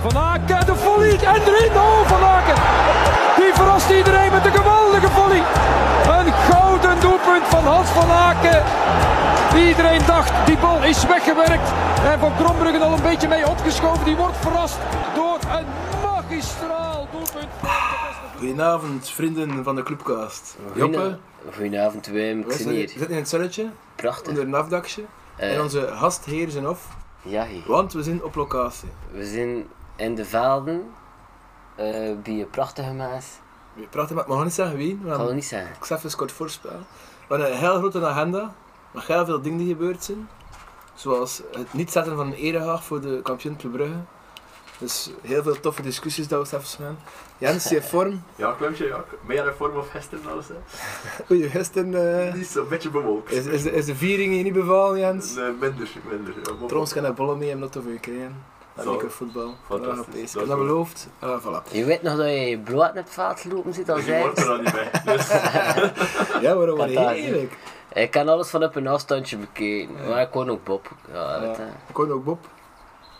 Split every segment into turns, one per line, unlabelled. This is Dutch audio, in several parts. Van Aken, de volley en erin. Oh, Van Aken. Die verrast iedereen met een geweldige volley. Een gouden doelpunt van Hans van Aken. Iedereen dacht, die bal is weggewerkt. En Van Krombruggen al een beetje mee opgeschoven. Die wordt verrast door een magistraal doelpunt van de beste
Goedenavond, vrienden van de clubcast. Joppe,
Goedenavond, Goedenavond Wim, ik
we
zit
zitten, we
hier.
zitten in het zonnetje, onder
Prachtig.
een afdakje.
Eh
En onze gastheer zijn af,
ja, hier.
want we zijn op locatie.
we zijn in de velden eh, bij een prachtige mens.
We praten met, we gaan niet zeggen wie,
Ik ga het
want
niet zeggen.
ik zal even kort voorspellen. We hebben een heel grote agenda, met heel veel dingen die gebeurd zijn. Zoals het niet zetten van een erehaag voor de kampioen Club Brugge. Dus heel veel toffe discussies dat we even gaan. Jens, je vorm.
Ja, Klemtje, ja. Meer in vorm of gisteren alles. Hè.
Oei, gisteren eh,
Die is een beetje bewolkt.
is, is, de, is de viering je niet bevallen, Jens?
Nee, minder, minder. Ja, maar-
Trouwens, ik heb bollen mee om dat te verkrijgen.
Zo.
Dat ik voetbal.
Fantastisch.
Europees. Ik
Dat
heb
is
dat
goed.
beloofd. Ah, voilà.
Je weet nog dat je je brood in het vaat lopen zit al
Die
zei.
wordt er dan niet bij. Dus,
Ja, waarom ben je
Fantastisch.
eigenlijk?
Ik kan alles van op een afstandje bekeken,
Ja.
maar ik woon ook Bob. Ja, weet je.
Ik hoor ook Bob.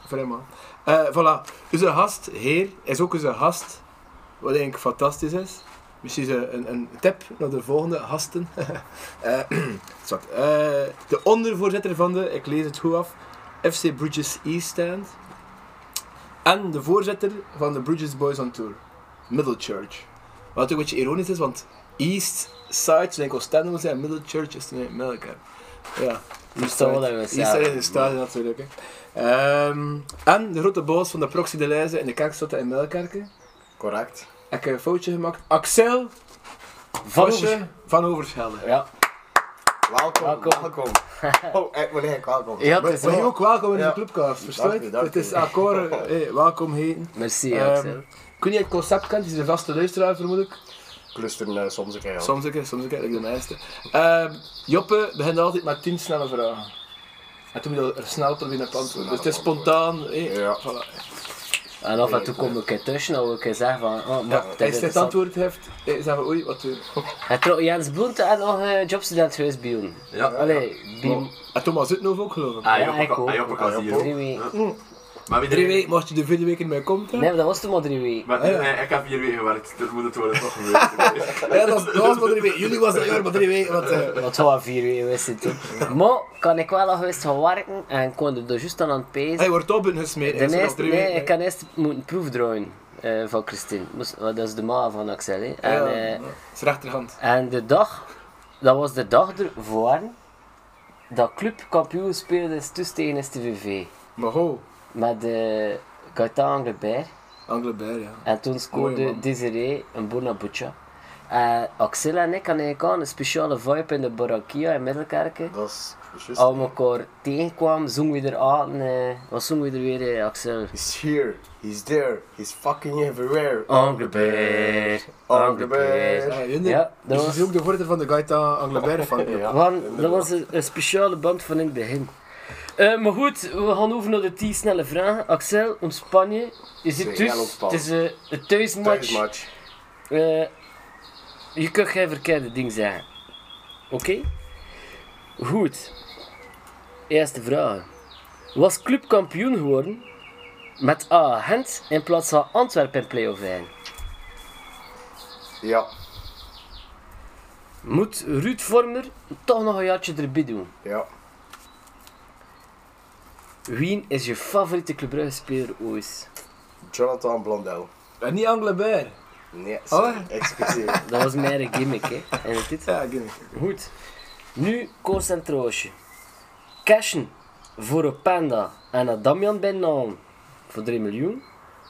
Vrij man. Eh, voilà. Onze gast, heer, is ook onze gast. Wat denk ik fantastisch is. Misschien is er een, een tip naar de volgende gasten. Eh, zwart. Eh, de ondervoorzitter van de, ik lees het goed af, FC Bridges East Stand. En de voorzitter van de Bridges Boys on Tour, Middlechurch. Wat ook een beetje ironisch is, want East Side, dus toen ik Oostende zijn, Middlechurch is toen ik Melk Ja.
Dat is toch wel een
East Side is een stadion natuurlijk. Hè. Ehm, en de grote boos van de Proxy de Leize in de Kerkstad in Melkerken.
Correct.
Ik heb een foutje gemaakt. Axel
Van
Vosje
Oevers-
van Overschelde.
Ja,
Welkom,
Welkom.
welkom. oh, ik wil eigenlijk welkom.
Ja, het
Maar-
is
We
maar-
zijn ook welkom in de
Ja.
clubcast,
Dank
verstaat?
u, dank
Het is
u.
akkoord, eh, welkom heten.
merci
Ehm,
Axel.
Kun je het concept kent, is een vaste luisteraar vermoedelijk.
Clusteren eh, soms een keer. ja.
Soms ook, hè, soms ook, hè, like de meeste. Ehm, Joppe begint altijd met 10 snelle vragen. En toen moet je er snel proberen op antwoorden. Dus het is spontaan. hè.
Ja.
Voilà.
En af en toe kom ik een keer tussen en wil ik een keer zeggen van, oh,
eh, Ja,
maar
als je het antwoord heeft, eh, zeggen we oei, wat doen we?
Hij trok Jens Bloemt en nog een eh, jobstudent geweest bij ons.
ja.
Allee, bij
En Thomas Utnoof ook geloof ik.
Ah,
Ja, ik
Joppe kan-
ook.
ah, Joppe kan
Ah,
hier.
Joppe.
drie weken.
Maar wie
Drie weken mocht je de vierde week in mij komt. hè?
Nee, maar dat was toen maar drie weken.
Maar, nee, ik heb vier weken gewerkt, dus moet het worden toch gebeurd.
Ja, dat was, dat was maar drie weken. Jullie was er maar drie weken. Want, eh,
Wat was vier weken wist het toen. Maar kan ik wel al geweest gaan werken en kon er dus juist aan aan het pezen.
hij wordt op in gesmeten.
De
is er nog
eerste,
drie
nee,
weken.
ik kan eerst moeten proefdraaien eh, van Christine. Moest- want dat is de ma van Axel. hè. En,
Ja,
eh,
is rechterhand.
en de dag, dat was de dag ervoor dat Club kampioen speelde is dus tegen STVV.
Maar ho,
Met de Gaetan Anglebert.
Anglebert, ja.
En toen
Mooi,
scoorde
man.
Desiree een bona bucha. En Axel en ik hadden eigenlijk al een speciale vibe in de Barakia in Middelkerken.
Dat is is juist.
Al Dus elkaar tegenkwamen, zongen we er aan. eh, wat zongen we er weer, eh, Axel?
He's here, he's there, he's fucking everywhere.
Oh, Angebeer,
Angebeer.
Ja,
Ja, dat
dus
was-
is ook de voorzitter van de Gaita Anglebert van.
Ja.
Want dat was een, een speciale band van in het begin. Eh, maar goed, we gaan over naar de 10 snelle vragen. Axel, om Spanje. Je zit
Zeer
dus, het
ontspannen.
is eh, een thuismatch.
Thuismatch.
Eh, je kunt geen verkeerde ding zeggen. Oké? Goed. Eerste vraag. Was club kampioen geworden met A. Gent in plaats van Antwerpen in play-off 1?
Ja,
Moet Ruud Vormer toch nog een jaartje erbij doen?
ja.
Wie is je favoriete Club Brugge speler ooit?
Jonathan Blondel.
En niet Anglebert.
Nee,
Oh.
sorry. Excuseer.
Dat was mijn eigen gimmick, hè. En het dit.
Ja, ik
Goed. Nu concentratie. Cashen voor een panda en een Damian bij naam voor 3 miljoen.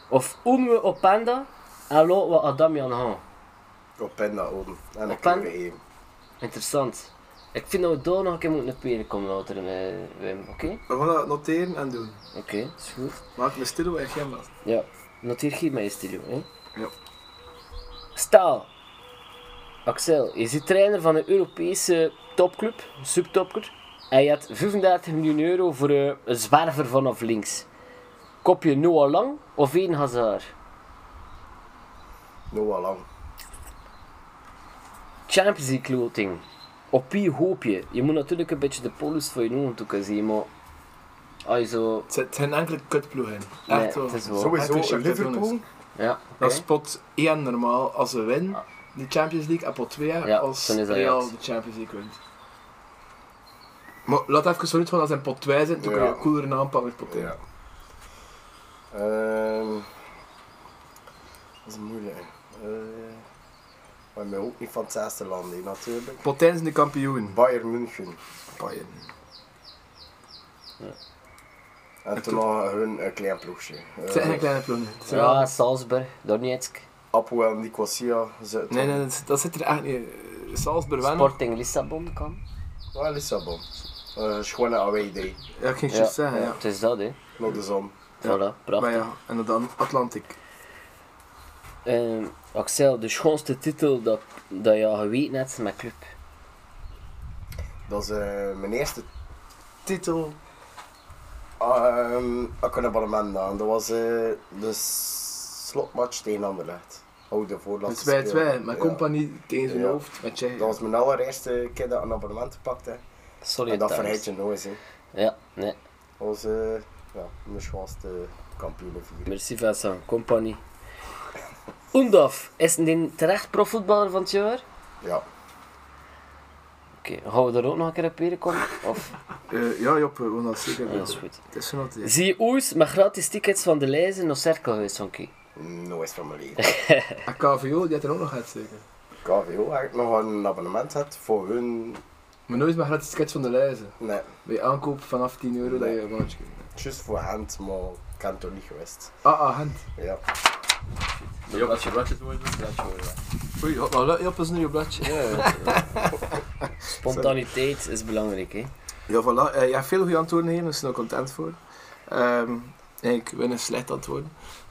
Of om we op panda en laten we aan Damian gaan.
Op pen naar open. En dan
Op pen?
kunnen we één.
Interessant. Ik vind dat we daar nog een keer moeten naar binnen komen later, eh, Wim. Oké?
We gaan dat noteren en doen.
Oké, is goed.
Maak me stil en geen last.
Ja, noteer hier mijn studio, hè?
Ja.
Staal. Axel, je zit trainer van een Europese topclub, subtopclub. En je had 35 miljoen euro voor eh, een zwerver vanaf links. Kop je Noah Lang of één Hazard?
Noah Lang.
Champions League loting. Op wie hoop je? Je moet natuurlijk een beetje de polis voor je ogen toe kunnen zien, maar Als je zo...
Het zijn- het zijn enkele kutploegen.
Nee,
Echt
het is
zo.
wel-
Echt een
Sowieso
Shakhtar
Liverpool.
Donetsk.
Ja,
Dat
oké. Ah.
spot één normaal als ze winnen. De Champions League, Apple 2 jaar,
Ja,
als
dan is dat
Real
juist.
de Champions League wint. Maar laat even zo niet van als ze in pot 2 zitten, dan kun je
Ja.
een coolere naam pakken met pot 1.
Ja. Ehm, dat is moeilijk. Eh, maar ik ben ook niet van het zesde land, hè, natuurlijk.
Pot 1 zijn de kampioen.
Bayern München.
Bayern.
En toen nog hun een klein ploegje.
Het zijn
Uh,
eigenlijk kleine ploegen. Het zijn wel-
Ja, Salzburg, Donetsk,
Apoel Nicosia. Zuid-
Nee, nee, dat, dat zit er echt niet. Salzburg wennen.
Sporting Lissabon kan.
Ah, Lissabon. Eh, is gewoon een away day.
Ja, ik ging het juist zeggen, ja.
Het is dat, hè.
Naar de zon.
Voilà, prachtig.
Maar ja, en dan Atlantic.
Ehm, Axel, de schoonste titel dat, dat je al geweten hebt met club.
Dat is eh, mijn eerste titel. Ehm ik een abonnement aan. Dat was eh, de slotmatch tegen Anderlecht. Oh, de
Met
voorlaatste
2-2,
speelronde.
met
Ja.
compagnie tegen zijn
Ja.
hoofd. Met Tsjechië.
Dat was mijn allereerste keer dat ik een abonnement pakte.
Sorry,
En dat vergeet je nooit. Hè.
Ja, nee.
Dat was eh, ja, mijn schoonste kampioen vier.
Merci Vincent, compagnie. Oendaf, is die terecht profvoetballer van het jaar?
Ja.
Oké, gaan we er ook nog een keer op weer komen? Of,
Eh, ja, Job, we gaan dat zeker
Ja,
doen.
dat is goed.
Het is zo dat
Zie je ooit met gratis tickets van de lijzen naar Cerkelhuis, Honkie?
Nooit van mijn leven.
En KVO, die had er ook nog uit zeker.
KVO, heb ik nog een abonnement had voor hun.
Maar nooit maar gratis tickets van de lijzen.
Nee,
Bij aankoop vanaf 10 euro dat je een bonnetje kunt.
juist voor hand, maar ik kan toch niet geweest.
Ah, ah, hand.
Ja.
Job, als je ratchet wordt, dan ratchet worden.
Oei, wat nou, Job is nu je bladje.
Spontaniteit is belangrijk, hè.
Ja, voilà. Eh, je hebt veel goede antwoorden gegeven, dus daar ben ik content voor. Ehm, en ik ben een slecht antwoord.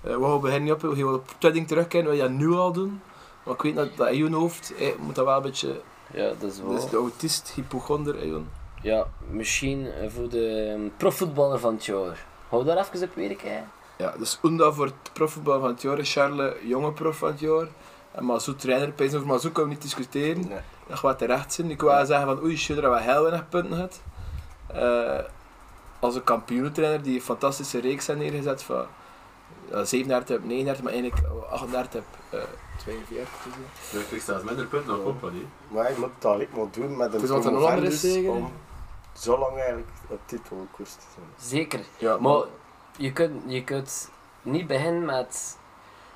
Eh, we gaan beginnen, Job. We gaan op trending terugkijken. Wil je dat nu al doen? Maar ik weet dat, dat in je hoofd eh, moet dat wel een beetje...
Ja, dat is wel...
Dat is de autist, hypochonder, eh, Jon.
Ja, misschien eh, voor de ehm, profvoetballer van het jaar. Hou daar even op weer, hè.
Ja, dus Unda voor het profvoetbal van het jaar. Charles, jonge prof van het jaar. En Mazou, trainer. Pijs over Mazou kunnen we niet discussiëren.
Nee.
nog wat terecht zijn. Ik wou wel zeggen van oei, Schudder wat heel weinig punten had. Eh, als een kampioenentrainer die een fantastische reeks heeft neergezet van eh, ja, 37 op 39, maar eigenlijk 38 op eh, 42. is het.
Dus ik sta als minder punten dan compagnie.
Maar je moet dat ik moet doen met een
Het is wat een Hollander is
promovendus
zeker.
om zo lang eigenlijk op titelkoers te zijn.
Zeker.
Ja,
Maar je kunt, je kunt niet beginnen met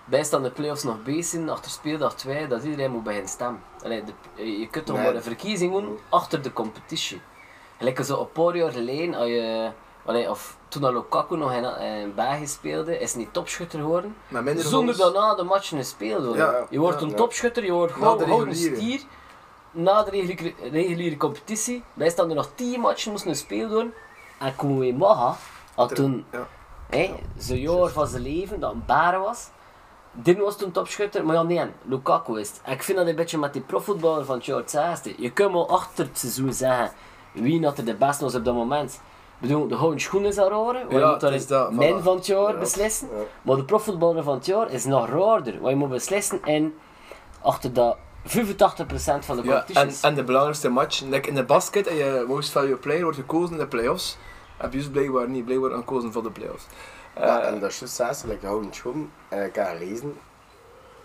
bijstaande play-offs nog bezig zijn, achter speeldag 2, dat iedereen moet beginnen stemmen. Allee, de- je kunt toch
Nee.
maar een verkiezing doen achter de competitie. Gelijk zo een paar jaar geleden, als je, allee, of toen dat Lukaku nog in, in België speelde, is hij niet topschutter geworden.
maar minder
Zonder
goals.
dat na de matchen gespeeld worden.
Ja,
je wordt
ja,
een
ja.
topschutter, je wordt
Na
gewoon
de
gewoon een
reguliere.
stier. Na de reguliere, reguliere competitie, wij staan er nog 10 matchen moesten gespeeld worden. En Koe Maha had toen
ja.
hè, zijn jaar van zijn leven, dat een baar was. Dit was toen topschutter, maar ja, nee, Lukaku is het. En Ik vind dat een beetje met die profvoetballer van het jaar het zesde. Je kunt wel achter het seizoen zeggen wie dat er de beste was op dat moment. Ik bedoel, de gouden schoen is al rare, want je
Ja,
moet daar
het is
eens
dat,
min
voilà.
van het jaar beslissen.
Ja.
Maar de profvoetballer van het jaar is nog raarder, want je moet beslissen in achter dat 85% van de
Ja, en,
competities.
en de belangrijkste match. Like in de basket en je most value player wordt gekozen in de playoffs. Heb je dus blijkbaar niet, blijkbaar gekozen voor de playoffs.
Eh.
ja, en dat is juist zelfs, like, hou het schoon en ik kan lezen.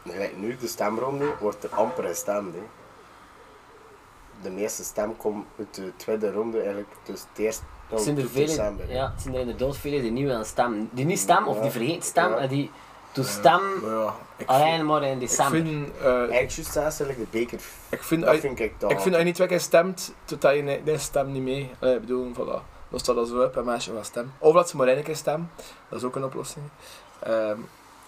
Like nu, de stemronde, wordt er amper gestemd. hè. De meeste stem komt uit de tweede ronde, eigenlijk dus het eerste tot
Het zijn er vele,
december. hè.
ja, het zijn er inderdaad vele die niet willen stemmen. Die niet stemmen of
Ja.
die vergeten stemmen
Ja.
en die toen stemmen
Maar ja, ik
alleen maar in
vind, ik
december.
vind, eh,
Eigenlijk juist zelfs, like, de beker.
ik vind,
Dat vind ik dan.
Ik vind dat je niet twee keer stemt, totdat je nee, nee, stem niet mee. Allee, ik bedoel, voilà. Los dat als we op en mensen wel stemmen. Of laat ze maar één keer stemmen, dat is ook een oplossing. Ehm,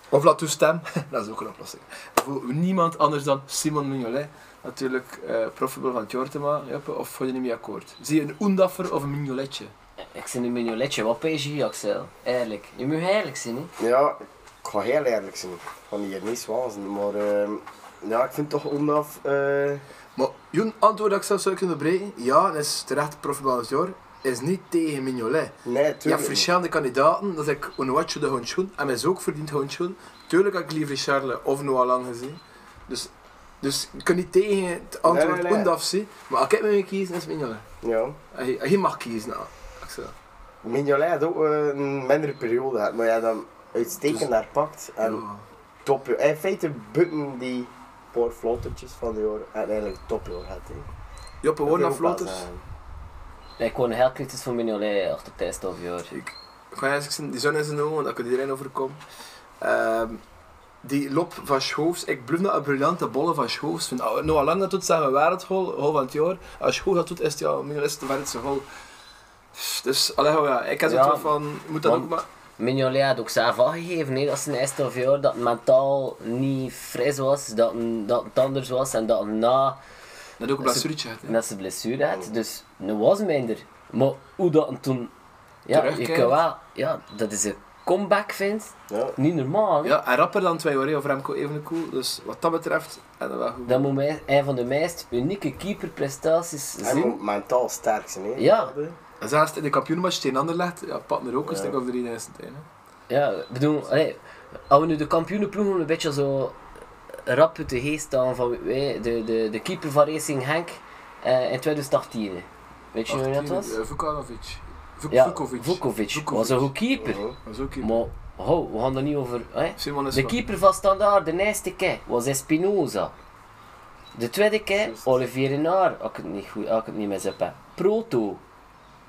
of laat toe stemmen, dat is ook een oplossing. Voor niemand anders dan Simon Mignolet, natuurlijk eh profvoetbal van het jaar te maken, Joppe, of ga je niet mee akkoord? Zie je een Oendaffer of een Mignoletje?
Ik zit nu met een letje, wat pees je hier, Axel? Eerlijk, je moet eerlijk zijn. Hè?
Ja, ik ga heel eerlijk zijn. Ik ga hier niet zwanzen, maar ehm, ja, ik vind het toch onaf. eh,
Maar Joen, antwoord dat ik zelf zou kunnen breken, ja, dat is terecht profvoetbal van het jaar, is niet tegen Mignolet.
nee,
Je hebt
tuurlijk. niet.
verschillende kandidaten, dat is ik Onuachu de Honchoen en hij is ook verdiend Honchoen. Tuurlijk heb ik liever Charles of Noah Lang gezien. Dus, dus je kunt niet tegen het antwoord
Nee,
nee,
nee, nee.
maar als ik me moet kiezen, is het Mignolet.
Ja.
Hij, hij mag kiezen, nou, ik zeg.
Mignolet had ook eh, een mindere periode gehad, maar ja, dan uitstekend
Dus-
daar pakt. En top, in feite bukken die paar flottertjes van de jaren uiteindelijk topjaar had. hè.
Joppe,
Dat
hoor naar
wil ik wel
flotters.
zeggen.
Ik gewoon heel kritisch voor Mignolet achter het eerste halfjaar.
Ik ga eens zien, die zon in zijn ogen, dat kan iedereen overkomen. Ehm, die lop van Schoofs, ik blijf naar een briljante bollen van Schoofs. vinden. Al- Nou, lang dat doet, zijn we wereldgoal, goal van het jaar. Als Schoofs dat doet, is het ja, minstens is het een wereldse goal. Dus, allee, ja, ik heb
Ja,
zoiets van, moet dat
want-
ook maar...
Mignolet had ook zelf aangegeven hè, dat zijn eerste halfjaar dat het mentaal niet fris was, dat, het- dat het anders was en dat het na
Dat ook een blessuretje had. hè.
dat ze blessure had. Dus nu was minder. Maar hoe dat hem toen... Ja, je
Terugkeert.
kan wel... Ja, dat is een comeback vindt.
Ja.
Niet normaal. hè.
Ja, en rapper dan twee jaar, hè, of Remco Evenepoel. Dus wat dat betreft, en dat wel goed.
Dat moet mij- een van de meest unieke keeperprestaties
Hij
zijn.
moet mentaal sterk zijn. hè. Mhm.
Ja.
En zelfs in de kampioenmatch tegen Anderlecht, ja, pak er ook een stuk of drie in zijn tijd, hè.
Ja, ik bedoel, allee, als we nu de kampioenenploeg een beetje zo eh, rap uit de geest staan van wij, de, de, de keeper van Racing Henk eh, in 2018. Weet je nog wie dat was?
Eh, Vukanovic. Vuk-
Ja,
eh, Vukovic.
Vukovic. was een goed keeper.
Mhm.
Dat is ook hier.
Maar ho, we gaan er niet over. Hè?
Simon is
De
wel-
keeper van Standaard, de eerste keer, was Espinoza. De tweede keer, Olivier Renard, als ik het niet, goed, als ik het niet mis heb. hè. Proto,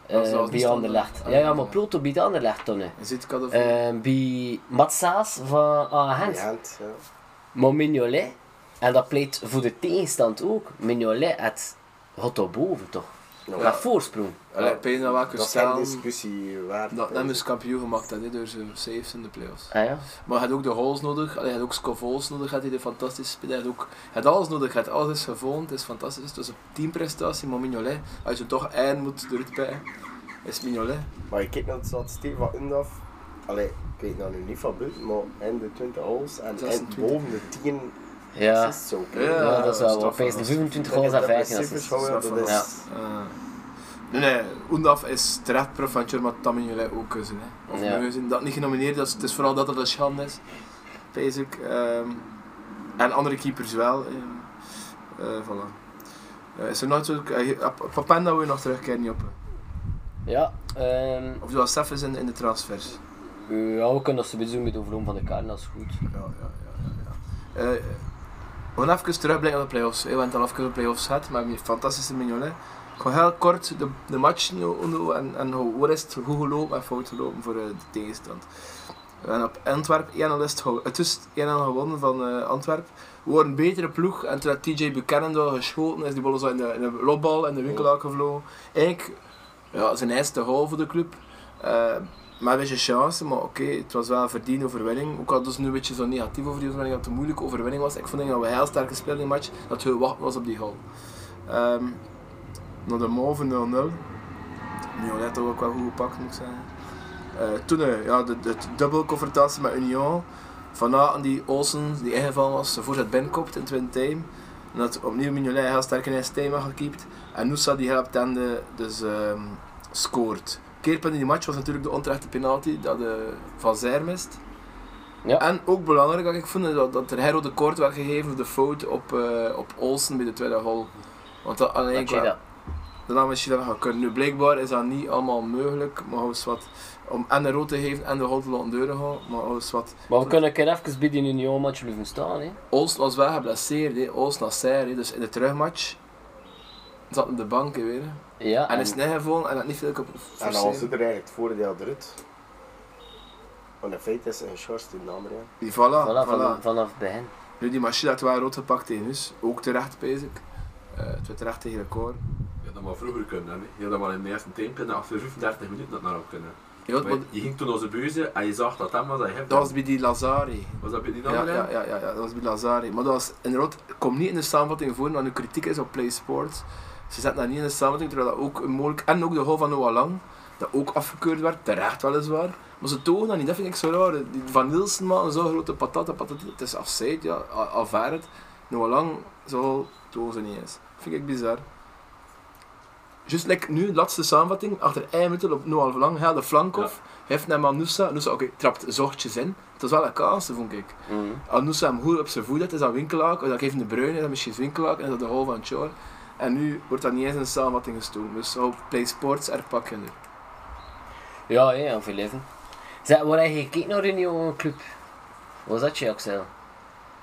Dat is wel
eh
een
bij
standaard.
Anderlecht.
Ah,
Ja,
ja,
ja, maar
ja.
Proto bij Anderlecht toen. hè.
Een zitkad of
Eh, bij Matsaas van ah,
Die
Gent.
hand, ja.
Maar Mignolet, en dat pleit voor de tegenstand ook, Mignolet had, had daar boven toch?
Nou,
Met voorsprong.
Allee, Pijn dat welke
Dat is geen
staan.
discussie waard.
Dat hem is kampioen gemaakt had, hè, door zijn saves in de playoffs.
Ah, ja.
Maar hij had ook de goals nodig, allee, hij had ook Scovols nodig, had hij de fantastische speler, hij had ook hij had alles nodig, hij had alles gevonden, het is fantastisch. Het was een teamprestatie, maar Mignolet, als je toch eind moet eruit bij, is Mignolet.
Maar ik kijk naar de statistiek van Undaf. Allee, ik weet nou nu niet van buiten, maar in de 20 holes en, en
26.
boven de 10
Ja.
assists ook. hè.
Ja,
ja, dat is wel
dat is
wat.
tof,
25 goals en
Dat is
15
dat principe
assists.
van, ja, dat
Ja.
is-
Eh, nee, nee, Oendaf is terecht prof van Tjur, maar dat moet jullie ook gezien. Hè. Of
Ja.
mogen gezien. Dat niet genomineerd, dat is, het is vooral dat het een schande is. Pees ik. Ehm, en andere keepers wel. eh. Eh, voilà. Eh, is er nooit zo... Uh, Papenda wil je nog terugkeren, Joppe.
Ja, ehm,
Of zoals Sef is in, in de transfers.
ja, we kunnen dat ze bezoeken met Overloom van de Kaarten, dat is goed.
Ja, ja, ja. ja, ja. Eh, gewoon even terugblijven op de playoffs. hè. We hebben het al even op de playoffs gehad, maar met fantastische mignonet. Gewoon heel kort de, de match nu onder- en, en hoe hoe is het goed gelopen en fout gelopen voor eh, de tegenstand. We hebben op Antwerp 1-0 is het gewo- het is 1-0 gewonnen van eh Antwerp. We worden een betere ploeg en toen had TJ Buchanan daar geschoten is die bal zo in de, in de lobbal in de winkel uitgevlogen. Eigenlijk ja, zijn eerste goal voor de club. Eh, maar een beetje chance, maar oké, het was wel een verdiende overwinning. Ook al dus nu een beetje zo negatief over die overwinning, dat het een moeilijke overwinning was. Ik vond dat we heel sterk gespeeld in die match, dat we wachten was op die goal. Ehm naar de Mauve 0-0. Mignolet ook wel goed gepakt, moet ik zeggen. Eh, toen eh, ja, de, de dubbelconfrontatie met Union. Vanavond die Olsen, die ingevallen was, zijn voorzet binnenkopt in twin time. En dat opnieuw Mignolet heel sterk in zijn team had gekiept. En Noosa die helpt aan de, dus ehm, scoort. Keerpunt in die match was natuurlijk de onterechte penalty dat eh, Van Zijr mist.
Ja.
En ook belangrijk, wat ik vond, dat, dat er heel de kort werd gegeven voor de fout op, eh, op Olsen bij de tweede goal. Want dat alleen
Wat je dat?
daarna misschien dat gaan kunnen. Nu, blijkbaar is dat niet allemaal mogelijk, maar hou eens wat. Om en de rood te geven en de goud te laten deuren gaan, maar hou eens wat.
Maar we kunnen een keer even bij die Union-match blijven staan, hè.
Olsen was wel geblesseerd, hè. Olsen naar Serre, dus in de terugmatch zat hij op de bank, hè, weer. hè.
Ja,
En is niet gevallen en had niet veel op
En dan was er eigenlijk het voordeel eruit. Want in feite is een shorts in de andere.
Die voilà, voilà.
voilà, van- vanaf het begin.
Nu die machine had wel rood gepakt tegen dus ook terecht, pees ik. Eh, het werd terecht tegen record.
Je had dat maar vroeger kunnen hebben. hè. Je had dat maar in de eerste tempel, achter 35 minuten dat naar op kunnen.
Ja,
Maar
maar
je ging toen onze buizen en je zag dat hem was dat je hebt.
dat was bij die Lazari.
Was dat bij die
Ja,
andere?
ja, ja, ja, ja, dat was bij Lazari. Maar dat was inderdaad, komt niet in de samenvatting voor, want de kritiek is op Play Sports. Ze zetten dat niet in de samenvatting, terwijl dat ook een mogelijk. En ook de goal van Noah Lang, dat ook afgekeurd werd, terecht weliswaar. Maar ze togen dat niet, dat vind ik zo raar. Die Van Nielsen maakt een zo'n grote patat, dat patat, het is afzijd, ja, a- afvaard het. Noah Lang, zo togen ze niet eens. Vind ik bizar. Just like nu, laatste samenvatting, achter Eimtel op Noah Lang, hij had de flank af, heeft naar Manusa, Nusa, oké, trapt zorgtjes in. Het was wel een kaas, vond ik.
Mm.
Als Noosa hem goed op zijn voet had, is dat Winkelaak. Of dat geeft de Bruin, is dat misschien Winkelaak. En is dat de goal van Chor. En nu wordt dat niet eens in de samenvatting gestoken. Dus hou Play Sports er pakken nu.
Ja, ja, of 11. Zeg, waar heb je gekeken naar in jouw club? Was dat je, Axel?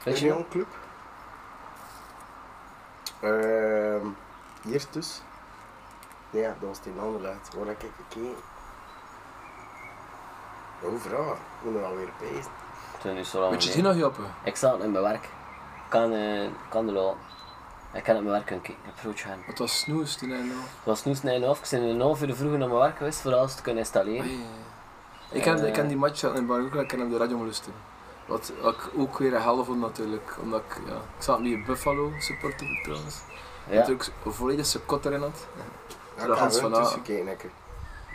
Weet je nog?
Union Club. Ehm, hier dus. Nee, Ja, dat was die andere uit. Waar heb ik gekeken? Overal. Ik moet er nou alweer bezig.
Toen is zo lang
Weet je het hier
geleden.
nog, Joppe?
Ik zat in mijn werk. Ik kan, eh, ik kan er wel. Ik kan op mijn werk kunnen kijken. Ik heb broodje gaan.
Het was snoes toen en al.
Het was nu snel en half. Ik ben een half uur vroeger naar mijn werk geweest voor alles te kunnen installeren.
Ik ken, ik
Eh.
ken die match in Bar ook, ik ken op de radio moesten. Wat ik ook weer een hel vond natuurlijk, omdat ik, ja, ik zat met een Buffalo supporter trouwens.
Ja,
Natuurlijk een volledige kot erin had.
Ja,
Dat
ik heb
was
er
van, ah.
tussen gekeken, heb ik.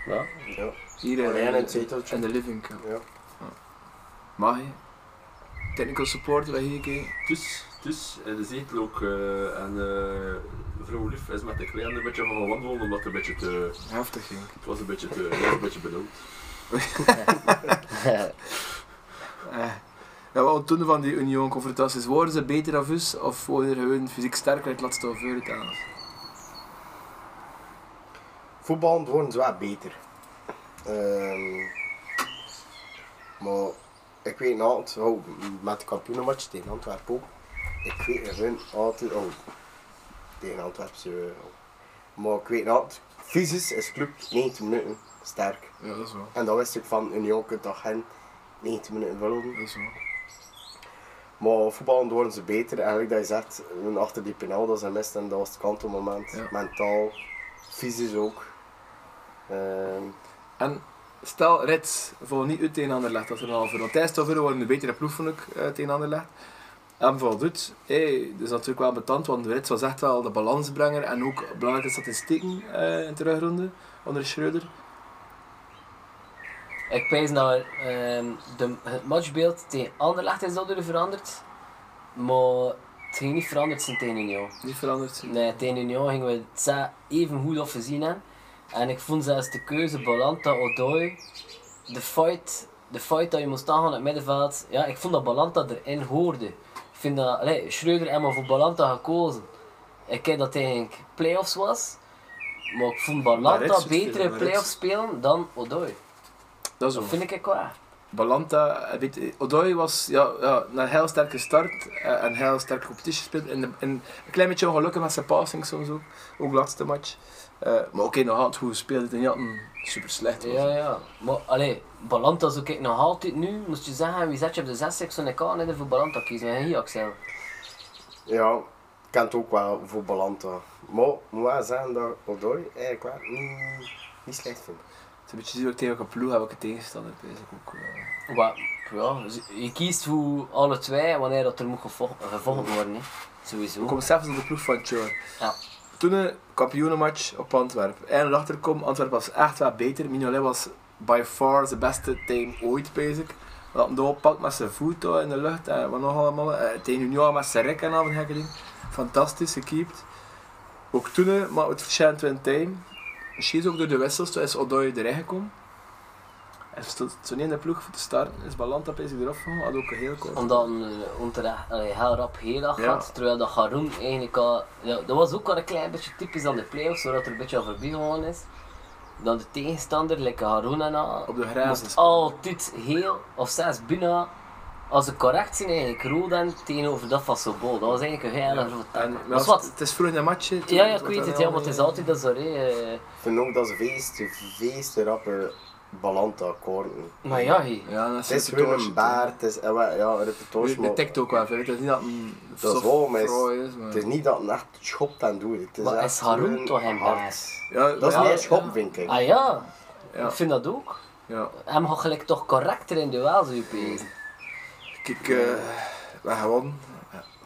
ja.
Ja.
Hier
Oh,
Alleen
in,
in het zeteltje.
in de living. ja.
ja.
Mag je? Technical support bij hier keer.
Dus, dus, en de zetel ook. eh, en eh vrouw Lief is met de kleine een beetje gaan wandelen, omdat het een beetje te.
Heftig ging.
Het was een beetje te. Het was een beetje benauwd.
Eh. Ja, wat toen van die Union confrontaties? Worden ze beter dan us of worden ze gewoon fysiek sterker uit het laatste of uit aan?
Voetballend worden ze wel beter. Ehm, maar ik weet nog altijd, oh, met de kampioenenmatch tegen Antwerpen ook, ik weet hun altijd, oh, tegen Antwerpen, ze, oh. maar ik weet nog altijd, fysisch is club 90 minuten sterk.
Ja, dat is wel.
En dan wist ik van Union kunt dat hen 90 minuten vullen.
Dat is wel.
Maar voetballend worden ze beter. Eigenlijk dat je zegt, hun achter die penal dat ze misten, dat was het kantelmoment.
Ja.
Mentaal, fysisch ook. Ehm,
En stel Reds voor niet uit tegen Anderlecht als er een half uur. Want tijdens het half uur worden een betere ploeg vond ik eh, tegen Anderlecht. En voor doet, hey, dat is natuurlijk wel betand, want Reds was echt wel de balansbrenger en ook belangrijke statistieken eh, in de terugronde onder Schreuder.
Ik pijs naar ehm, de, het matchbeeld tegen Anderlecht is dat er veranderd. Maar het ging niet veranderd zijn tegen Union.
Niet veranderd.
Nee, tegen Union gingen we het za- even goed af gezien hebben. En ik vond zelfs de keuze Balanta Odoi, de fight, de fight dat je moest aangaan in het middenveld. Ja, ik vond dat Balanta erin hoorde. Ik vind dat, allee, Schreuder helemaal voor Balanta gekozen. Ik ken dat tegen playoffs was. Maar ik vond
Maar
Balanta
Rits is
beter
veel, maar
in
Rits-
playoffs spelen dan Odoi.
Dat is
Dat
wel.
vind ik qua.
Balanta, eh, weet, je, Odoi was ja, ja, een heel sterke start eh, en heel sterke competitie gespeeld. En, de- en een klein beetje ongelukkig met zijn passing soms ook. Ook laatste match. Eh, maar oké, nog altijd goed gespeeld en niet dat een super slecht was.
Ja, ja. Maar allee, Balanta zoek ik nog altijd nu. Moest je zeggen, wie zet je op de 6 Ik zou ik al niet voor Balanta kiezen. Maar hier, Axel.
ja, ik ken het ook wel voor Balanta. Maar ik moet wel zeggen dat Odoi eigenlijk wel niet, niet slecht vind.
Het is een beetje zien ook tegen welke ploeg heb ik het tegenstander bezig ook. eh.
Wat? Ja, je kiest voor alle twee wanneer dat er moet gevo- gevolgd worden. Hè. Sowieso.
We komen zelfs op de ploeg van Tjor.
Ja.
Toen een kampioenenmatch op Antwerpen. En erachter kom, Antwerpen was echt wel beter. Mignolet was by far de beste team ooit bezig. Dat hem doorpakt met zijn voet daar in de lucht en wat nog allemaal. Eh, Tegen Union met zijn rek en al van gekke dingen. Fantastisch gekiept. Ook toen, eh, maar het verschil in time. Misschien is ook door de wissels, toen is Odoi erin gekomen. Hij stond zo niet in de ploeg voor te starten. Is Balanta bezig eraf gegaan, had ook een heel kort.
Omdat een eh, onterecht allee, heel rap heel dag
Ja.
gaat. Terwijl dat Haroun eigenlijk al... Ja, dat was ook al een klein beetje typisch aan de playoffs, zodat er een beetje al voorbij gegaan is. Dan de tegenstander, like Haroun en al,
Op de grijze
moest
spelen.
altijd heel, of zelfs bijna, als ze correct zijn eigenlijk, rood en tegenover dat van Sobol. Dat was eigenlijk een heel grote taak.
En, maar
Maar
als-
wat?
Het is vroeg in de match. hè, toen-
Ja, ja, ik
toen
weet
dan
het, ja,
al,
maar het is
eh,
altijd dat zo, hè. eh.
Ik vind ook dat ze feest te, feest te rapper Balanta koorden.
Maar ja, hé.
Ja, dat is
Het is
repertoire
weer een
shit,
baard, het is eh, wel, ja, een
hè.
repertoire.
Je
maar
je tikt ook wel veel. Het is niet dat een
Dat is
soft
wel, maar is-
fraai is, maar...
Het is niet dat het echt schopt en doet. Het is
Maar
echt
is Haroun
gewoon
toch hem
hard.
baas?
Ja,
Dat is
ja,
meer schop, vind ik.
Ah ja,
Ja.
ik vind dat ook.
Ja.
Hem had gelijk toch correcter in duel, zou je pezen.
Kijk, eh, we hebben gewonnen.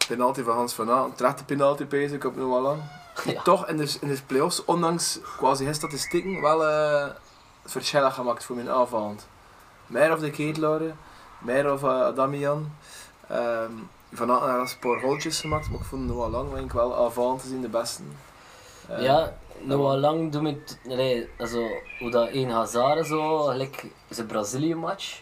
Penalty van Hans van A. Een terechte penalty, pees ik op nu al lang.
Ja.
Toch in de, in de play-offs, ondanks quasi geen statistieken, wel eh verschillen gemaakt voor mijn aanvallend. Meer of de Keetlauren, meer of eh, Adamian. Ehm van A een paar goaltjes gemaakt, maar ik vond het wel lang, denk ik wel aanvallend te zien de beste. Eh,
Ja, nou al lang doen we het, nee, zo, hoe dat één Hazard zo, gelijk zijn Brazilië match,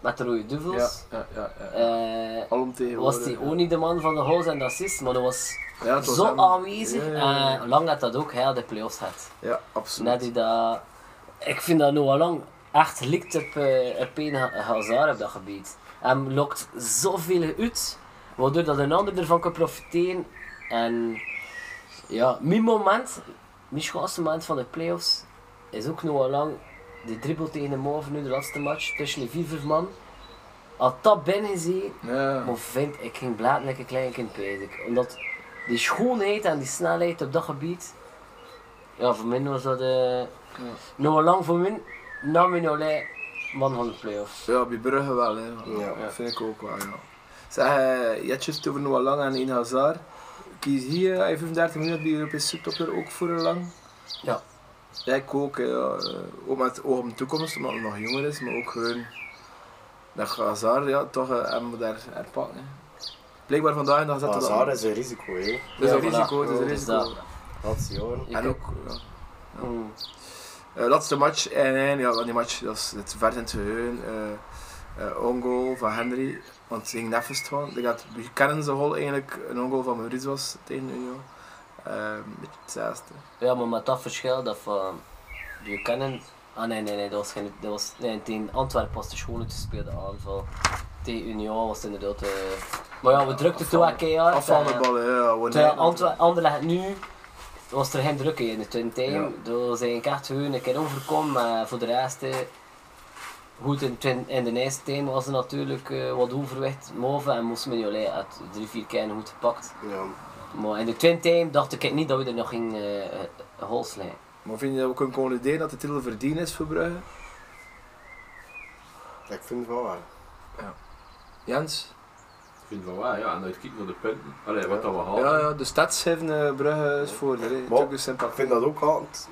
met de rode
Ja,
duvels.
ja, ja. ja.
Eh,
Alom tegenwoordig.
was die ook niet de man van de goals en de assist, maar dat was
Ja, het was
zo
hem.
aanwezig. Eh,
Ja, ja, ja.
En lang dat dat ook heel de play-offs had.
Ja, absoluut.
Net die dat... Ik vind dat nu al lang echt lijkt op, eh, op een ha- hazard op dat gebied. En lokt zoveel uit, waardoor dat een ander ervan kan profiteren. En ja, mijn moment, mijn schoonste moment van de playoffs, is ook nog wel lang die dribbel tegen de Move nu, de laatste match, tussen de vier, vijf man. Had dat binnen gezien,
Ja.
maar vind ik ging blaten like een klein kind bezig. Omdat die schoonheid en die snelheid op dat gebied, ja, voor mij was dat eh nog wel lang voor mij, na mijn olij, man van de playoffs.
Ja, bij Brugge wel, hè. Ja,
Ja.
vind ik ook wel, ja. Zeg, eh, Jetjes over nog wel lang aan Ina Hazard. Kies hier, hij heeft 35 minuten bij de Europese subtopper ook voor een lang.
Ja.
Ja, ik ook, eh, ja, eh, ook met het oog op de toekomst, omdat hij nog jonger is, maar ook gewoon dat Hazard, ja, toch, eh, hem moet daar herpakken. hè. Blijkbaar vandaag in de Gazette. dat-
Hazard is een risico, hè.
Dat is
Ja,
een
voilà.
risico, dat is een
Dus
risico.
dat-
Laatste jaren.
je
En
kunt-
ook, ja.
Mm.
Eh, laatste match, en en ja, want die match dat is het ver in het geheugen. eh, eh, ongoal van Henry, want ze ging neffens gewoon. Ik had Buchanan zijn goal eigenlijk een ongoal van Maurice was tegen Union. Eh, een beetje het zesde.
Ja, maar met dat verschil dat van je kennen. Ah nee, nee, nee, dat was geen. Dat was, nee, tegen Antwerpen was de schone te spelen aanval. Tegen Union was het inderdaad. eh, maar ja, we drukten toen wel keihard.
Afvallende
eh,
ballen, ja. gewoon
Terwijl
niet.
Antwe- Anderlecht nu was er geen druk in de twin time.
Ja.
Door zijn kaart gewoon een keer overkomen, maar voor de rest. eh, Goed in, twin- in de eerste time was er natuurlijk eh, wat overwicht moven en moest Mignolet uit drie, vier keer goed gepakt.
Ja.
Maar in de twin time dacht ik niet dat we er nog gingen eh, eh, goals slaan.
Maar vind je dat we kunnen concluderen dat de titel verdiend is voor Brugge?
Ik vind het wel waar.
Jens?
Ik vind van waar, ja, en uitkijken naar de punten. Allee, wat dat we
Oh.
halen.
Ja, ja, de stats geven eh, Brugge is voor.
Maar-
Natuurlijk is
Ik vind dat ook altijd.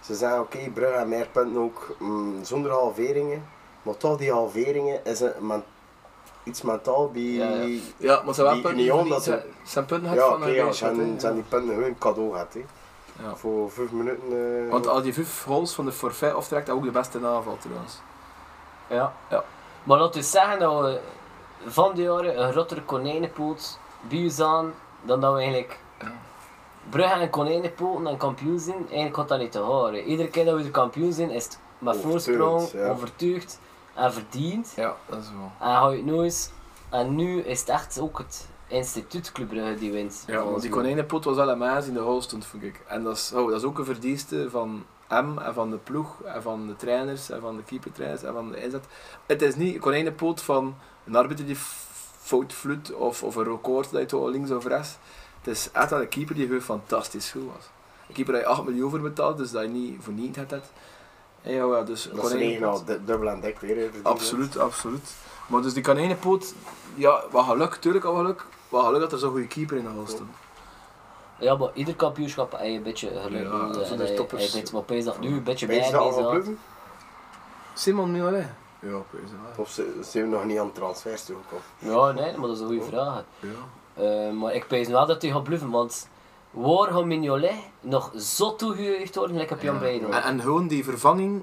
Ze zeggen oké, Brugge en meer punten ook mm, zonder halveringen. Maar toch, die halveringen is een men- iets mentaal bij.
Ja, ja.
Ja, maar ze hebben wel
Die
punten
Union,
verdiend,
dat ze-
hè. Ze hebben punten
Ja,
gehad
oké,
van een
ja,
race,
ze hebben
hè.
ze hebben die punten gewoon cadeau gehad. hè.
Ja.
Voor vijf minuten. eh,
Want al die vijf goals van de forfait aftrekt, dat ook de beste aanval trouwens.
Ja.
Ja.
Maar laten we zeggen dat we van de jaren een grotere konijnenpoot bij ons aan dan dat we eigenlijk
Ja.
Brugge en konijnenpoten en kampioen zijn. Eigenlijk gaat dat niet te horen. Iedere keer dat we de kampioen zijn is het met
Overtuigd,
voorsprong,
ja.
overtuigd en verdiend.
Ja, dat is wel.
En hou je het nooit. En nu is het echt ook het instituut Club Brugge die wint.
Ja, want die konijnenpot was wel een maas in de goal stond, vond ik. En dat is, oh, dat is ook een verdienste van hem en van de ploeg en van de trainers en van de keepertrainers en van de inzet. Het is niet een konijnenpot van een arbiter die f- fout vloedt of, of een record dat je toch links of rechts. Het is echt dat een keeper die gewoon fantastisch goed was. Een keeper dat je 8 miljoen voor betaalt, dus dat je niet voor niet hebt. dat. En ja, ja, dus een
Dat is regen
konijnenpoot.
al du- dubbel en dik weer. hè, verdiend.
Absoluut, absoluut. Maar dus die konijnenpoot, ja, wat geluk, tuurlijk al geluk. Wat geluk dat er zo'n goede keeper in de goal stond.
Ja, maar ieder kampioenschap heb je een beetje geluk.
Ja,
nodig.
zonder
En hij-
toppers.
hij weet, Maar Pees dat nu een beetje bij
Ben je ze al
Pees dat-
gebluffen?
Simon Mignolet? Ja, opeens wel.
Of ze- zijn we nog niet aan de transfers toegekomen?
Ja, nee, maar dat is een
Oh.
goede vraag.
Ja.
Eh, maar ik pees wel dat hij gaat bluffen, want waar gaat Mignolet nog zo toegejuicht worden, lekker op Jan Breidel?
En, en gewoon die vervanging,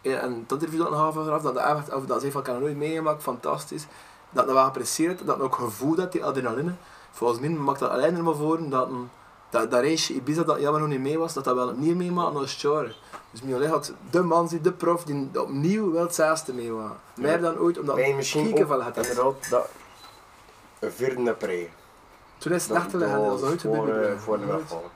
ja, en dat interview dat nog half vanaf, dat hij over dat zei van, ik heb dat nooit meegemaakt, fantastisch. Dat hij wel gepresseerd, dat hij ook gevoel dat die adrenaline. Volgens mij maakt dat alleen er maar voor dat een, dat, dat race Ibiza dat jammer nog niet mee was, dat dat wel opnieuw meemaakt als Char. Dus Mignolet had de man, die de prof, die opnieuw wel het zesde meemaakt. Meer dan ooit, omdat
Ben je
hij
misschien
kieken van
ook
het had.
inderdaad dat een vierde pre.
Toen is het
Dat
echt te leggen, dat is nooit
voor,
gebeurd.
eh, voor de wegvallen.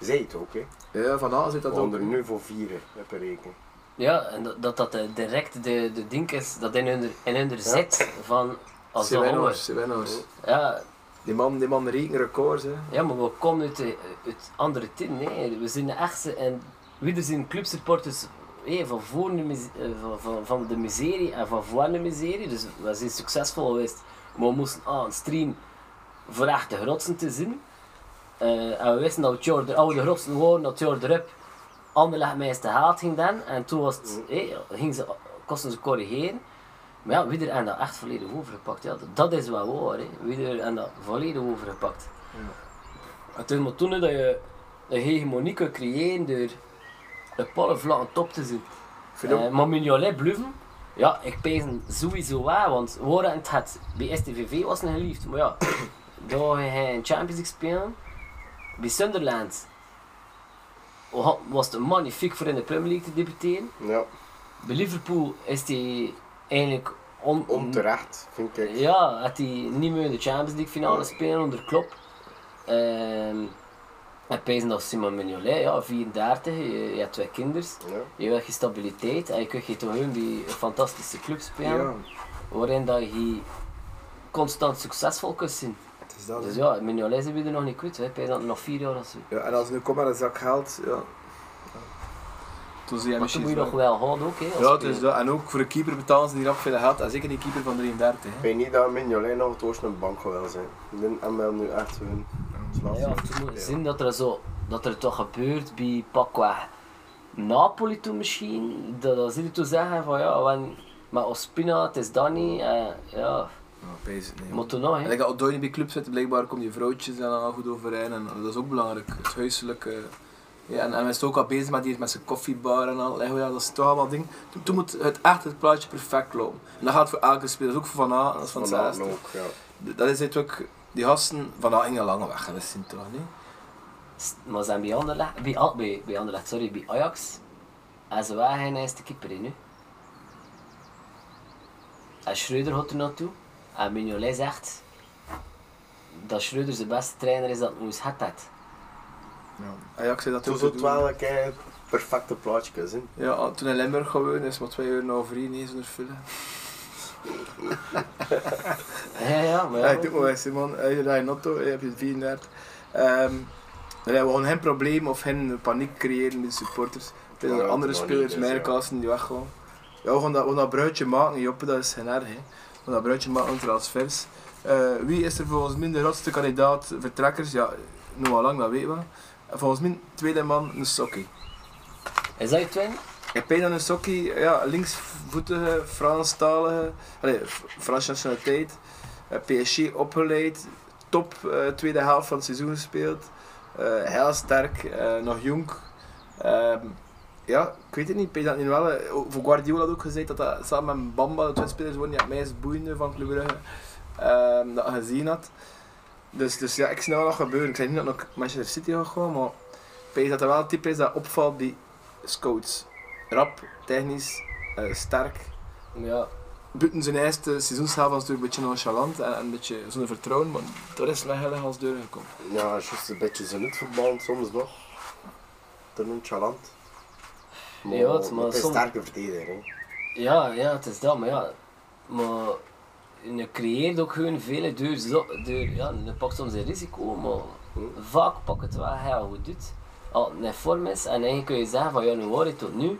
Zij het ook, hè?
Ja, vanavond zit dat
Dat
ook.
onder nu voor vieren heb ik rekenen.
Ja, en dat dat, dat eh, direct de, de ding is dat in hun, in hun zit van als de honger.
Sivenoors, Sivenoors.
Oh.
Ja,
Die man, die man rekent records, hè.
ja, maar we komen uit, de- uit andere tien. Nee, we zijn de echtste en wie er zijn clubsupporters hé, van, voor de mis- eh, van, van, van de miserie en van voor de miserie. Dus we zijn succesvol geweest, maar we moesten aan een stream voor echt de grootsten te zien. Eh, en we wisten dat we het jaar de oude grootsten waren, dat het jaar erop Anderlecht mij eens te haat ging dan. En toen was het, hé, ging ze, kosten ze corrigeren. Maar ja, wie er en dat echt volledig overgepakt. Ja, dat, dat is wel waar. Hè. Wie er en dat volledig overgepakt. Het is maar toen hè, dat je een hegemonie kunt creëren door een paar vlakken top te zien.
vind ook-
Eh, maar Mignolet bluffen, ja, ik pijs hem sowieso waar, want Warren het had bij STVV was een geliefd, maar ja, daar ging hij in Champions League spelen. Bij Sunderland wa- was het magnifiek voor in de Premier League te debuteren.
Ja.
Bij Liverpool is hij eigenlijk on,
Onterecht, vind ik.
Ja, had hij niet meer in de Champions League finale spelen onder Klopp. Ehm en pezen dat Simon Mignolet, ja, 34, je, je hebt twee kinders.
Ja.
Je wil je stabiliteit en je kunt je toch hun die een fantastische club spelen.
Ja,
Waarin dat je constant succesvol kunt zien.
het is dat.
Dus
hè.
ja, Mignolet zijn we er nog niet kwijt. Hij pezen dat nog vier jaar of zo.
Ja, en als het nu komt met een zak geld, ja. Toen zie je
Maar toen moet je nog
wel.
wel houden ook. Hè, als
Ja, het is
speler.
dat. En ook voor een keeper betalen ze niet rap veel geld. En zeker die keeper van 33.
Ik
Hè.
weet niet dat Mignolet nog het oost een bank wil zijn. Ik denk dat we hem nu echt hun.
Ja, toen moet je zien dat er zo, dat er toch gebeurt bij pakweg Napoli toen misschien. Dat, dat zie je toen zeggen van ja, wan- maar Ospina, het is dat niet. En, ja,
Ja, pees het, nee.
moet er nog
En
hè.
ik had nooit bij club zitten, blijkbaar komen die vrouwtjes daar dan al goed overeen. En dat is ook belangrijk, het huiselijke. Ja, en, en hij is ook al bezig met, die, met zijn koffiebar en al. Hey, ja, dat is toch allemaal ding. Toen, toen moet het echt het plaatje perfect lopen. En dat gaat voor elke speler, dat is ook voor Van Aken, dat is van
Vanavond
Zaasten.
ook, ja.
Dat is het ook, die gasten, Van Aken ging een lange weg geweest zijn toch niet?
S- Maar ze zijn bij Anderlecht, bij, Al- bij, bij Anderlecht, sorry, bij Ajax. En ze waren geen eerste keeper in nu. En Schreuder gaat er naartoe. En Mignolet zegt dat Schreuder zijn beste trainer is dat Moes had dat.
Ajax zei dat
Toen
ook
zou
te
het
doen.
wel een keer het perfecte plaatje kunnen zijn.
Ja, ah, toen in Limburg gewoon is maar twee uur na drie, niet zonder vullen.
Ja, ja, maar
Ja,
ja.
ik doe het wel eens, man. Als je rijdt in auto, je hebt je 34. Ehm dan hebben we gewoon geen probleem of geen paniek creëren met de supporters. Er zijn
Ja,
andere
dat
spelers,
niet is,
mijn kasten, die weggaan. Ja, we gaan dat, we gaan dat bruidje maken, Joppe, dat is geen erg. Hè. We gaan dat bruidje maken, transfers. Eh wie is er volgens mij de rotste kandidaat? Vertrekkers? Ja, nog wel lang, dat weten we. En Volgens mij, tweede man, een sokkie.
Is dat je twin?
Ik ben dan een sokkie, ja, linksvoetige, Franstalige, allee, F- Franse nationaliteit, eh, PSG opgeleid, top eh, tweede helft van het seizoen gespeeld, eh, heel sterk, eh, nog jong. Ehm, ja, ik weet het niet, ik denk dat niet wel. eh, ook Voor Guardiola had ook gezegd dat dat samen met Bamba de twee spelers worden die het meest boeiende van Club Brugge ehm, dat hij gezien had. Dus, dus ja, ik zie dat wel nog gebeuren. Ik zeg niet dat nog Manchester City gaat gaan, maar ik denk dat er wel een type is dat opvalt die scouts rap, technisch, eh, sterk.
Ja.
Buiten zijn eerste seizoenshelft was natuurlijk een beetje nonchalant en en een beetje zonder vertrouwen, maar daar is hij heel als deur gekomen.
Ja, juist een beetje zijn uitvoetballen soms nog. Te nonchalant.
Ja, het- maar
het is een
soms-
sterke verdediger. hè.
Ja, ja, het is dat, maar ja. Maar je creëert ook gewoon vele deur, zo- deur ja, je pakt soms een risico, maar vaak pak het wel heel goed uit. Als het in vorm is, en eigenlijk kun je zeggen van ja, nu hoor je tot nu.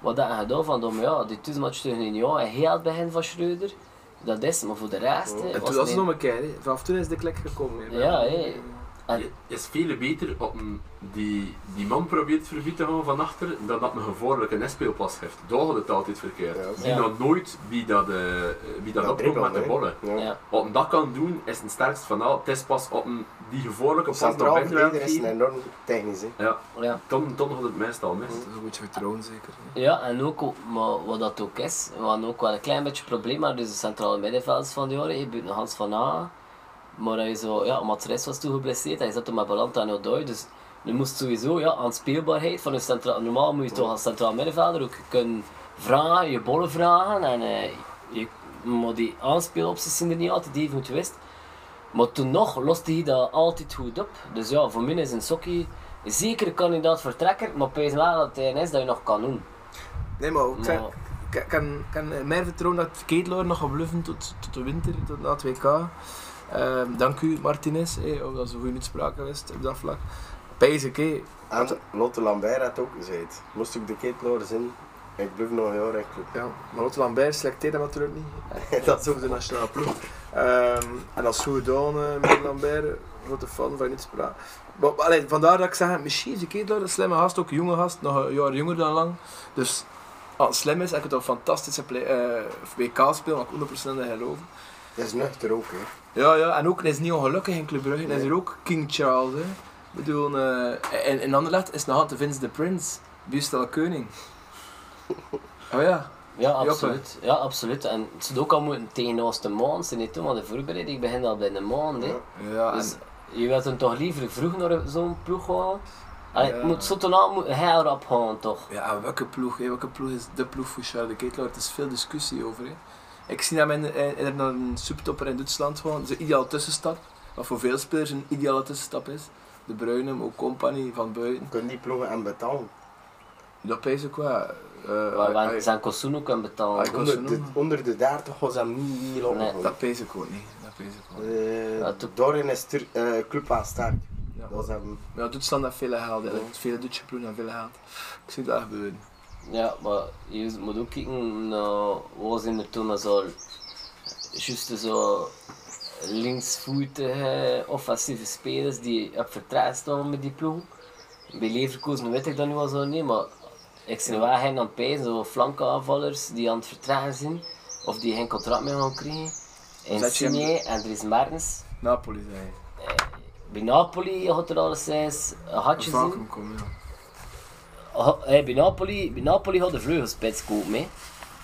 Wat dat gedaan van, dan, maar ja, die toesmatch tegen Union en heel het begin van Schreuder, dat is, maar voor de rest... hè,
En
was
toen was
het
het nog een keer, hè. vanaf toen is de klek gekomen. hè.
Ja, hè.
Je is veel beter op een- die, die man probeert verbied te gaan van achter dan dat een gevaarlijke nespeelpas heeft. Daar gaat het altijd verkeerd.
Ja.
Zie
Ja.
nou nooit wie dat, eh wie dat, opkomt
dribbelt,
met de
hè.
bollen.
Ja.
ja.
Wat hem dat kan doen, is een sterkst van al. Het is pas op een, die gevaarlijke pas naar
Centraal
binnen wil
verdediger is een
geven.
enorm technisch. Hè.
Ja,
ja.
dan, dan gaat het meestal mis.
Dat is een beetje vertrouwen zeker. hè.
Ja, en ook o- maar wat dat ook is, we hadden ook wel een klein beetje probleem met dus de centrale middenvelders van de jaren, je buiten Hans van A. Maar dat je zo, ja, Matres was toen geblesseerd, hij zat toen met Balanta en Odoi, dus je moest sowieso ja, aan speelbaarheid van een centraal, normaal moet je toch als centraal middenvelder ook kunnen vragen, je bollen vragen en eh, je, maar die aanspeelopties zijn er niet altijd even goed geweest. Maar toen nog loste hij dat altijd goed op. Dus ja, voor mij is een sokkie zeker een kandidaat vertrekker, maar pees wel dat hij een is dat je nog kan doen.
Nee, maar ook,
Maar-
ik kan, kan eh, mijn vertrouwen dat Keetlaar nog gaat bluffen tot, tot de winter, tot na het WK. Ehm, dank u, Martinez, eh, oh, dat is een goede uitspraak geweest op dat vlak. Pijzik, hé.
En Lotte Lambert had ook gezegd. Moest ik de Keetloor zien, ik blijf nog een jaar in club.
Ja, maar Lotte Lambert selecteert hem natuurlijk niet.
Dat
dat
is
is over de nationale ploeg. Ehm, en dat is goed gedaan eh, met Lambert, grote fan van Uitspraak. Maar, maar allee, vandaar dat ik zeg, misschien is die kerel een slimme gast, ook een jonge gast, nog een jaar jonger dan lang. Dus als het slim is, heb ik het een fantastische play, eh, WK spelen, waar ik 100% in geloof.
Dat is nuchter ook. Hè.
Ja, ja, en ook, hij is niet ongelukkig in Club Brugge, hij is
Nee.
hier ook King Charles. Hè. Ik bedoel, eh, in, in Anderlecht is nog altijd Vince de Prince, Bustel Koning. Oh ja.
Ja, absoluut. Ja, absoluut. En het zou ook al moeten tegen ons de maand zijn, niet toen, want de voorbereiding begint al bij de maand. hè.
Ja.
Ja, en-
Dus je wilt hem toch liever vroeg naar zo'n ploeg gaan Allee, het moet zotenaam moet hij erop gaan, toch?
Ja, en welke ploeg? Hè? Welke ploeg is de ploeg voor Charles de Ketelaar? Er is veel discussie over. Hè? Ik zie eh, hem in, in, in een subtopper in Duitsland gewoon, zijn ideale tussenstap. Wat voor veel spelers een ideale tussenstap is. De Bruyne, maar ook Company, Van Buiten.
Kunnen die ploegen aan betalen?
Dat is ook wel.
Waar
eh,
we zijn Kosoen ook aan betalen.
Hij kon-
Onder de, onder de 30 was hem niet niet lang.
Nee.
Dat pees ik ook niet. Dat pees ik ook niet.
Eh,
Ja, toen-
Dorin is ter, eh, club aan sterk.
Ja,
Dat was hem.
ja, Duitsland heeft veel gehaald. eigenlijk. Vele Duitse ploegen hebben veel gehaald. Ik zie dat gebeuren.
Ja, maar je moet ook kijken naar waar zijn er toen zo juist zo linksvoetige offensieve spelers die op vertrouwen staan met die ploeg. Bij Leverkusen weet ik dat nu wel zo niet, maar ik zie wel geen aan pijzen, zo flankaanvallers die aan het vertragen zijn of die geen contract meer gaan krijgen. En
Dat je hem-
Signe en Dries Martens.
Napoli zijn.
Bij Napoli had er alles eens een hatje
Vaak
zien.
hem komen, ja.
Ha- Hey, bij, Napoli, bij Napoli had de vleugelspits kopen. hè.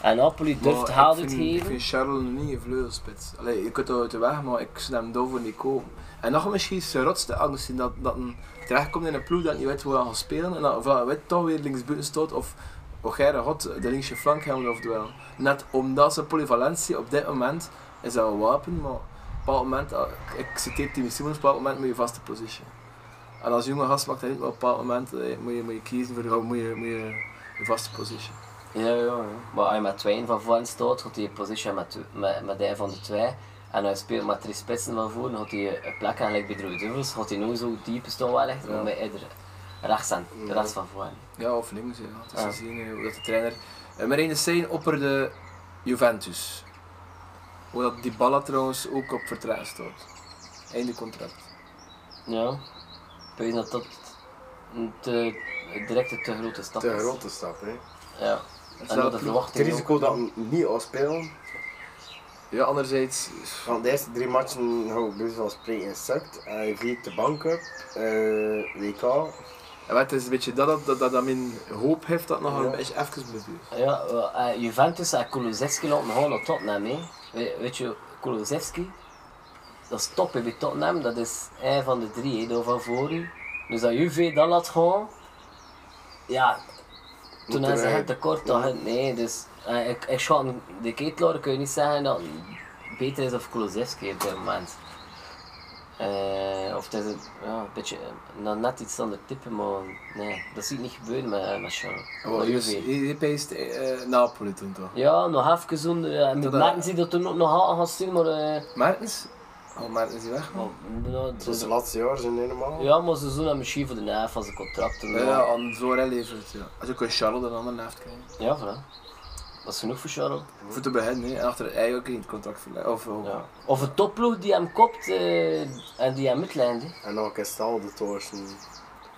En Napoli durft
Maar
haal
ik
het
vind- Ik
geven.
vind Charles nog niet een vleugelspits. Allee, je kunt dat uit de weg, maar ik zou hem daarvoor niet kopen. En nog misschien is zijn rotste angst zien dat, dat een terechtkomt in een ploeg dat niet weet hoe hij gaat spelen. En dat, of dat hij weet toch weer linksbuiten staat of Ogeire God de linkse flank hem of duel. Net omdat zijn polyvalentie op dit moment is dat een wapen, maar op een bepaald moment, eh, ik- ik citeer Timmy Simons, op een bepaald moment moet je vaste positie. En als jonge gast maakt dat niet, maar op een bepaald moment eh, moet, je, moet je kiezen voor moet je, moet je, je vaste positie.
Ja, ja, ja. Maar als je met tweeën van voren staat, gaat hij een positie met, tw- met, met een van de twee. En als je speelt met drie spitsen van voren, gaat hij een plek aan like bij Droe Duvels. Gaat hij nou zo diep staan wellicht,
Ja.
maar met eerder rechts aan,
Ja.
rechts van voren.
Ja, of links. Ja. Het is
Ja.
te zien eh, hoe dat de trainer. Eh, Marijn de Sein opperde Juventus. Hoe dat die Balla trouwens ook op vertraging staat. Einde contract.
Ja. Ik weet dat dat een te, direct een te grote stap
Te
is.
grote stap. Hè.
Ja. En
wel
dat de
ploeg-
Het
verwachting ook.
risico dat we hem niet afspelen.
Ja, anderzijds. eh,
Van de eerste drie matchen hou ik best wel spreken insect. Hij viert de bank op. eh, WK.
eh, Het is een beetje dat dat, dat, dat, dat mijn hoop heeft dat nog
Ja.
een beetje even blijft.
Ja, eh, eh, Juventus en Kulusevski laten gewoon naar Tottenham. Hè. We- weet je, Kulusevski, dat is top hè, bij Tottenham. Dat is een van de drie, hè, daar van voor u. Dus dat Juve dat laat gewoon, ja, toen
Moet
hebben ze
eruit.
het tekort. toch, hè. Nee, dus eh, ik, ik schat hem- de ketelaar kun je niet zeggen dat het beter is of Kulusevski op dit moment. Eh, of het is een, ja, een beetje, eh, nou, net iets ander type, maar nee, dat zie ik niet gebeuren met, eh, met Charles.
Oh,
Met
Dus
Juve.
Je peest eh, Napoli toen toch?
Ja, nog even zo'n. eh, en met
Dat, eh,
Maarten zie dat er nog nog aan gaan zien, maar. eh,
Maartens? Oh, Maartens is weg. man.
maar, nou,
Zoals de
ze-
laatste jaar zijn helemaal.
ja, maar ze doen dat misschien voor de naaf als een contract.
Ja,
maar-
Eh, ja, aan Zorel levert. Ja. Als je Charles een andere naft krijgen.
ja, voilà. Dat is genoeg voor Charles.
Voor te beginnen, hè. en achter het ei ook in het contract verlengen. Of, oh. of-
Ja. Of een topploeg die hem kopt eh, en die hem uitlijnt. hè.
En dan is het al de torsen.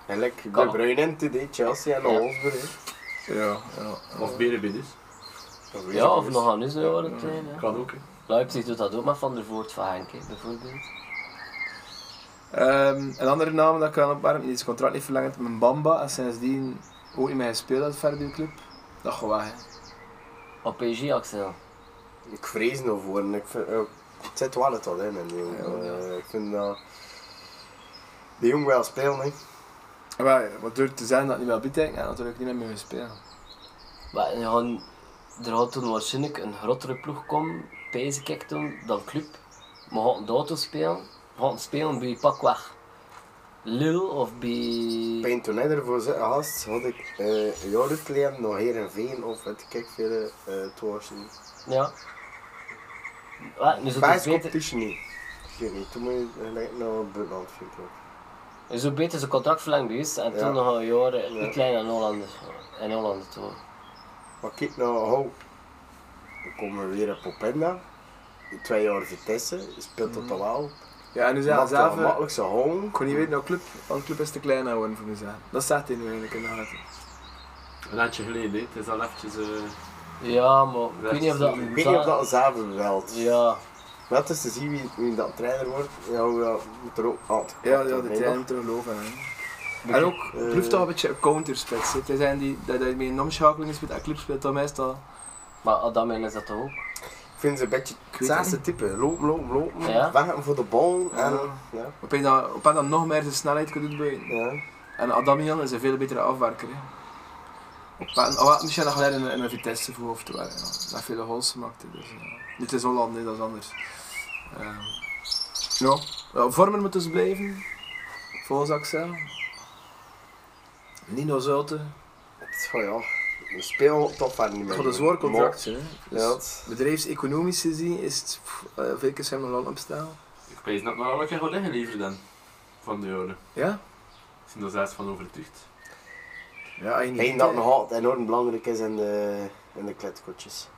Eigenlijk
Kan
De Bruyne en TD, Chelsea en
Ja.
Wolfsburg. hè.
ja, ja.
Of Benebides.
Dat is
Ja, of
weer
nog aan is ja, het zijn. Ja.
Kan ook, hè.
Leipzig doet dat ook met Van der Voort van Henk, hè, bijvoorbeeld.
Ehm, een andere naam dat ik aan opmerken, die is het contract niet verlengd met Bamba en sindsdien ook niet meer gespeeld uit verder die club. Dat gaat weg. hè.
Op PSG, Axel.
Ik vrees nog voor en ik vind, eh, het zit wel het al in, en die jongen.
Ja.
Eh, ik vind dat die jongen wel spelen, hè.
En Wel, wat door te zijn dat niet meer betekent en natuurlijk niet meer mee spelen.
Maar er gaan- er gaat toen waarschijnlijk een grotere ploeg komen, pijs ik toen, dan club. Maar gaan de auto spelen, gaan spelen bij pakweg Lille of bij...
Pijn toen hij ervoor zit, gast, had ik eh een jaar geleden nog Heerenveen of het kijk veel eh torsen.
Ja. Ja, nu zou het
Vijf
beter,
competition niet. Ik weet niet, toen moet je gelijk naar het buitenland vind ik. ook.
nu zou beter zijn contract verlengd bij ons en
Ja.
toen nog een jaar
Ja.
een klein aan Hollanders. En Hollander toe.
Maar kijk nou, hou. We komen weer op Openda. Twee jaar Vitesse, speelt
Mhm.
dat al wel.
Ja, en nu
Ja,
zijn ze zelf,
zelf
eh,
makkelijk zijn home.
ik kon niet weten naar club, want de club is te klein geworden voor mezelf. Dat staat hij nu eigenlijk in de gaten.
Een eindje geleden, hè. Het is al eventjes... eh,
Ja, maar ik weet niet of dat...
Ik weet niet of dat zelf wilt.
Ja.
Maar het is te zien wie, wie dat trainer wordt. Ja, hoe dat moet er ook aan.
Ja, ja, de tijd moet er geloven hè. En ook, het blijft toch een beetje een counterspits. hè. Het zijn die, dat dat je met een omschakeling speelt en club speelt dan meestal.
Maar Adamel is dat toch ook?
Ik vind ze een beetje
weet
het zesde type. Lopen, lopen, lopen.
Ja.
Weg voor de bal. En,
Ja.
ja.
Op een dat nog meer zijn snelheid kan doen buiten.
Ja.
En Adamian is een veel betere afwerker. Hè. Maar en- oh, Michel Agler in, in een Vitesse voorhoofd te werken. Ja. Dat heeft veel goals gemaakt. hè, Dus, ja. Dit is Holland, hè, dat is anders. Ehm, ja. ja, vormen moet dus blijven. Volgens Axel. Nino Zulte.
Zo ja, we spelen toch vaak niet meer.
Voor een zwaar contract. hè.
Maar-
Dus
Ja, het-
Bedrijfseconomisch gezien is het pff, eh, veel keer zijn we al opstaan.
Ik weet dat maar elke keer gaat liggen liever dan. Van de jaren.
Ja?
Ik ben er zelfs van overtuigd.
Ja,
ik
eigenlijk.
denk dat nog altijd enorm belangrijk is in de, in de kletkotjes.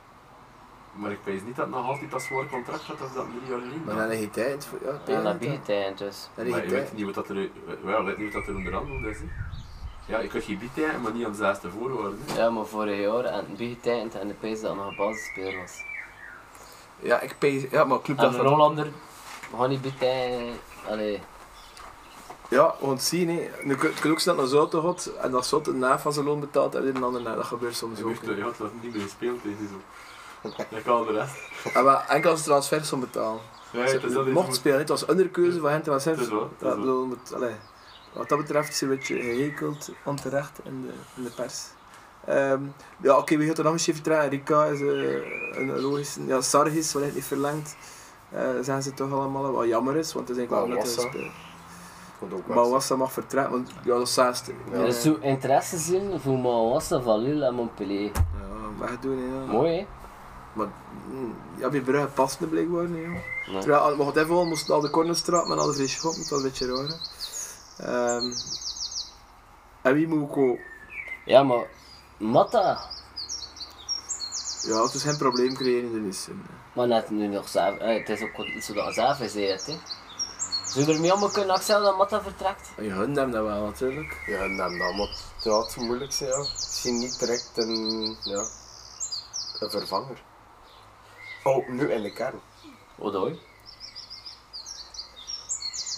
Maar ik weet niet dat het nog altijd dat zwaar contract had als dat drie jaar geleden.
Maar
had.
dan heb je tijd voor. Ja,
Ja, dat
ben je
biedt hij dus.
Dan heb
Maar
je
je weet
tijd.
niet wat dat er, eh, wel, je weet niet wat dat er onderhandeld is. Hè. Ja, je kunt je bieden, hè, maar niet aan de zesde voorwaarden. hè.
Ja, maar vorig jaar en het biegetekend en de prijs dat nog een basisspeler was.
Ja, ik pay, ja, maar club
En
dat
de
van-
Hollander, gewoon niet biegetekend. Allee,
Ja, we gaan het zien. Hè. Nu kun je kunt ook snel naar Zouten gaat en dat Zouten een naaf van zijn loon betaalt en dit en ander na. Dat gebeurt soms
Je
ook.
hoeft
hè.
er- je had dat niet meer gespeeld tegen zo. Dat kan de rest.
En maar enkel als transfers om betalen.
Ja,
Ze
het is dat
mocht
iets
spelen, het was underkeuze van hen te
Het is
transfers.
wel, het is
Dat
wel.
bedoel, moet- allee, Wat dat betreft zijn we een beetje gehekeld onterecht in de, in de pers. Ehm, ja, oké, wie gaat er nog een shift draaien? Rika is eh, een logische. Ja, Sargis, wellicht niet verlengd. Eh zijn ze toch allemaal wat jammer is, want het is eigenlijk wel net
Mawassa.
een speler.
Goed ook
Maar Wassa mag vertrekken, want ja, dat is zesde.
Ja.
Er is zo interesse zien voor Mawassa van Lille en Montpellier.
Ja, wegdoen, hè, ja.
Mooi hè?
Maar mm, ja, bij Brugge past het blijkbaar niet. joh.
Nee.
Terwijl, al- we hadden even al, moesten al de cornerstraat met al de drie schoppen, dat was een beetje raar. hè. Ehm, en wie moet ook al-
Ja, maar Matta,
Ja, het is geen probleem creëren in de Nissen.
maar net nu nog zelf. eh, Het is ook niet zo dat zelf is hè. Zou je ermee om kunnen accepteren dat Matta vertrekt?
En je hun hem dat wel natuurlijk.
Ja, neem dat maar. Het zou het zo moeilijk zijn, ja. Misschien niet direct een, ja, een vervanger. Oh, nu in de kern.
Wat doe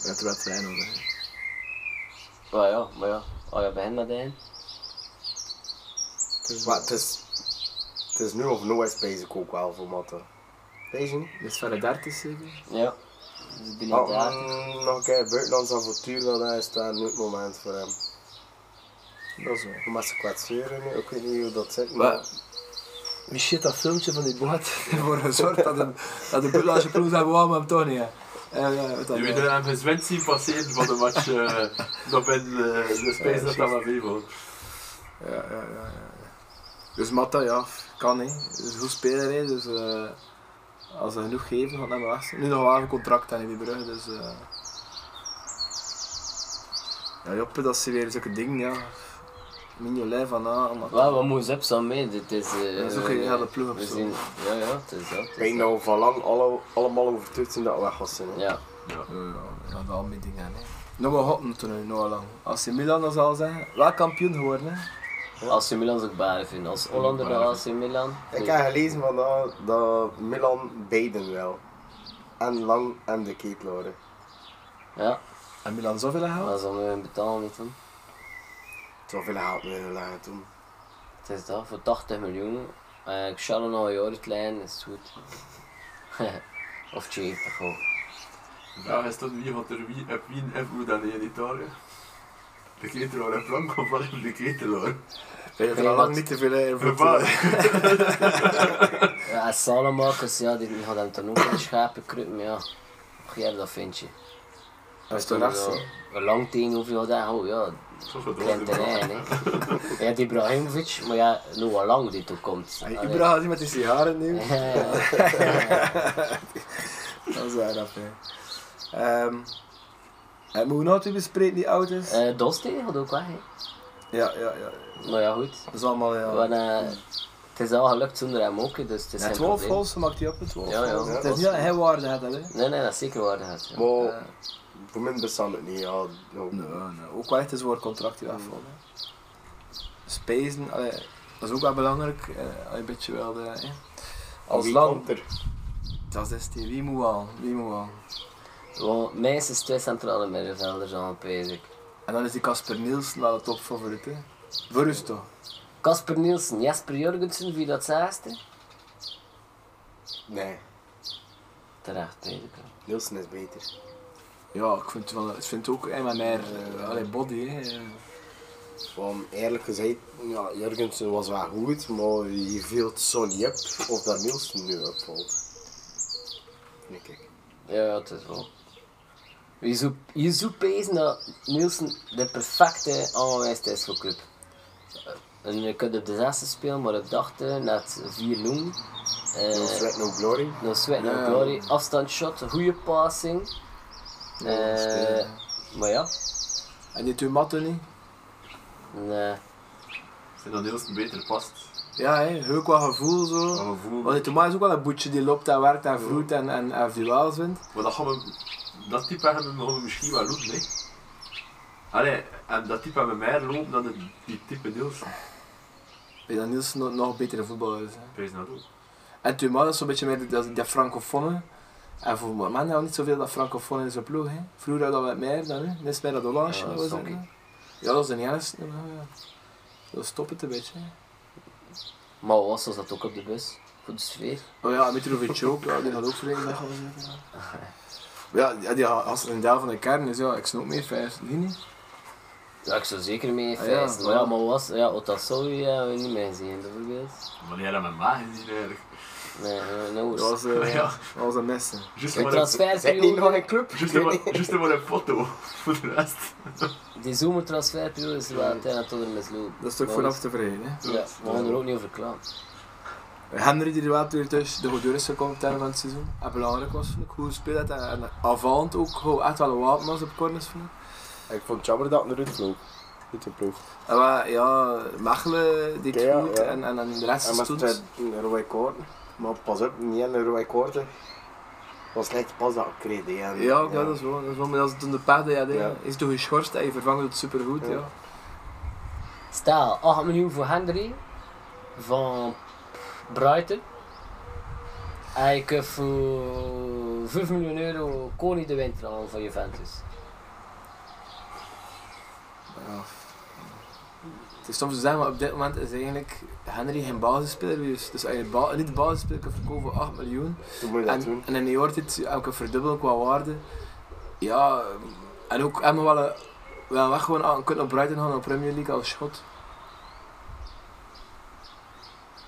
Je hebt er wel trein nodig. hè.
Maar ja, maar ja. Oh ja, begin met een.
Het is,
Maar het is, het is nu of nooit basic ook wel voor Matten. Weet je niet?
het is van de 30 zeker.
Ja. Dus binnen
Oh,
daar.
mm, nog een keer buitenlands avontuur, dat is daar nu het moment voor hem.
Dat is wel.
Maar ze kwetseren nu, ik weet niet hoe dat zit. Maar,
Maar, wie shit dat filmpje van die boot ervoor gezorgd dat een, dat een buitenlandse ploeg zei, wou hem toch niet. hè. Eh, ja, wat dan,
Je
ja.
weet dat hem gezwend zien passeren van de match. eh, Dat ben eh, de space dat dat wel mee valt.
Ja, ja, ja, ja. ja. Dus Matta, ja, kan hè. Het is een goed speler hè, dus eh, als ze genoeg geven, gaat hij wel weg. zijn. Nu nog wel een contract aan die Brugge, dus... eh. Ja, Joppe, dat zijn weer zulke dingen, ja. Mignolet van A, maar...
Wel, wat moet Zep zo mee? Dit is. eh,
Dat is ook geen
eh,
hele ploeg op
we
zo.
zien- Ja, ja, het is dat. het is
ik weet
dat.
nou van lang alle, allemaal overtuigd zijn dat we weg gaan zijn. hè.
Ja.
Ja, dat al mijn dingen, hè. Nog wel hotten toen, hè, nog wel lang. Als je Milan dan zal zeggen, wel kampioen geworden, hè.
AC Milan is ook baren vindt. Als Hollander naar AC Milan.
Ik heb gelezen vandaag dat Milan beiden wel. En Lang en de Keetloren.
Ja,
En Milan zoveel gehaald?
maar ze hadden hun betalen niet doen.
Zoveel haalt me heel lang toen.
Het is dat, voor 80 miljoen. Eh, Ik zal er nog een jaar klein, is het goed. of 70 gewoon.
De vraag is tot wie gaat er wie op wie invloed dan in Italië? De ketelaar en Frank of wat de ketelaar?
Weet je,
Nee,
er al lang
wat-
niet te veel hè, invloed
Verbaal.
op.
Ja, en Salamakers, ja, die die gaat hem ten ook een schapen kruipen, maar ja. Och, jij dat vind je.
Dat is toch rechts, hè.
Een lang tegen hoeveel dat oh ja,
Toch het
klein terrein, hè. Je hebt Ibrahimovic, maar ja, nog wel lang die toekomt.
Hey,
Allee.
Ibra gaat met die sigaren nu.
Ja, ja.
Dat is waar, dat hè. Ehm en moeten we nog iets bespreken, die auto's?
Eh, Dostin gaat ook weg, hè.
Ja, ja, ja.
Maar ja, goed.
Dat is allemaal, ja.
Want, eh, het is al gelukt zonder hem ook, hè, dus het is
en
geen
12
probleem.
goals maakt hij op, hè, 12
Ja, ja.
goals. Het is niet dat hij waarde had, hè.
Nee, nee, dat is zeker waar. Dat, ja.
Maar
Eh.
voor mij bestaat het niet. Ja, no.
nee. Ook wel echt een zwaar contract die
Mm.
afvalt, hè. Spijzen, allee, dat is ook wel belangrijk. eh, een beetje wel, de, hè. Als
Wie
land,
komt er?
dat is die, wie moet wel, wie moet wel.
Want minstens twee centrale middenvelders aan bezig.
En dan is die Casper Nielsen wel de topfavoriet, hè. Voor ons toch.
Casper Nielsen, Jasper Jorgensen, wie dat zaaste?
Nee,
Terecht, eigenlijk. wel.
Nielsen is beter.
Ja, ik vind het, wel, ik vind het ook een van mijn eh, allee, body, hè. eh.
Want eerlijk gezegd, ja, Jurgensen was wel goed, maar je viel zo niet op of dat Nielsen nu opvalt. Denk ik.
Ja, het is wel. Je zou, je zou pezen dat Nielsen de perfecte aanwijst is voor club. En je kunt op de zesde spelen, maar eh, op de achtste, net 4 noemen.
No sweat, no glory.
eh, Dan sweat no
Ja.
glory. Afstandsshot, goede passing. Eh, maar ja,
En die twee matten niet?
nee.
Ik vind dat Nielsen beter past.
Ja, hè, ook wel gevoel zo.
Wat gevoel.
Want die Thomas is ook wel een boetje die loopt en werkt en vroet en, en, en duels wint.
Maar dat, gaan we, dat type hebben we, gaan we misschien wel doen, hè? Allee, en dat type hebben we meer lopen dan het- die type Nielsen.
Ik denk dat Niels nog, nog betere voetballer is. hè.
Prijs naar toe.
En Thomas is zo'n beetje meer die- dat, dat francofonen. En voor mij hebben we niet zoveel dat francofonen in zijn ploeg. Hè. Vroeger hadden we het meer dan nu. Nu is het meer dat Orange.
Ja,
hè,
dat
was
snap
het,
ik.
hè. Ja, dat is een juist. Ja, ja. Dat stopt het een beetje. hè.
Maar was dat ook op de bus? Goede sfeer.
Oh ja, Mitrovic ook, ja, die gaat ook voor één dag gaan zitten. Ja, ja die, ha- als er een deel van de kern is, ja, ik snap meer vijf, niet niet.
Ja, ik zou zeker mee
Ah, ja,
feesten. maar
voilà.
ja, maar was, ja, Otasowi hebben we niet meer gezien, bijvoorbeeld.
Wanneer hebben we maag gezien eigenlijk?
Nee, nee, nee.
Dat was, eh,
Ja.
dat was een messen.
Juist
De
maar een,
Zit niet nog
transferperiode,
een club?
juist maar, juist maar een foto voor de rest.
die zomertransferperiode is wel een tijd tot er mislopen.
Dat is toch
Maar
vooraf te vreden, hè.
Ja, we gaan er ook niet over klagen.
Henry die er wel weer tussen de goede deur is gekomen op het einde van het seizoen. En belangrijk was, vond ik, hoe speelt dat. En, en avant ook, gewoon echt wel een wapen was op corners, vond ik.
Ik vond het jammer dat het eruit vloog. Niet de ploeg.
En maar, ja, Mechelen deed
Oké, ja,
goed
ja.
en, en, en de rest
En
is
met
toen.
twee rode koorten. Maar pas op, niet een rode koorten. was net pas dat ik kreeg. hè. En-
Ja, ja, dat is wel. Dat is wel, maar dat is toen de paarden, ja,
Ja.
ja. is toch geschorst en je vervangt het supergoed,
Ja.
ja.
Stel, 8 miljoen voor Henry van Brighton. En je kunt voor 5 miljoen euro Koning de Winter halen van Juventus.
Het is soms te zeggen, maar op dit moment is eigenlijk Henry geen basisspeler geweest. Dus als je ba- niet de basisspeler kan verkopen voor 8 miljoen,
Toen moet je dat
en,
doen.
en in je dit elke verdubbelen qua waarde, ja, en ook hebben we wel, een- wel weg gewoon aan kunnen op Brighton gaan naar Premier League als schot.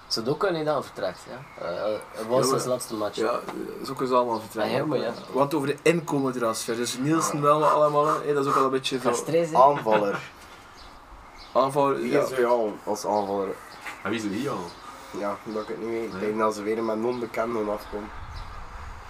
Zou dat ook kunnen dan vertrekt, ja? Eh, eh, was
Ja,
zijn
ja.
laatste match.
Ja, dat is ook eens allemaal vertrekken.
Ah, ja, maar ja.
Want over de inkomentransfer, dus Nielsen wel maar allemaal, hé, dat is ook al een beetje
Gaan
veel
stressen.
Aanvaller.
aanval.
Wie
Ja.
is er al als aanvaller?
En wie is er hier al?
Ja, dat ik het niet weet. Ik denk dat ze weer met non-bekenden afkomen.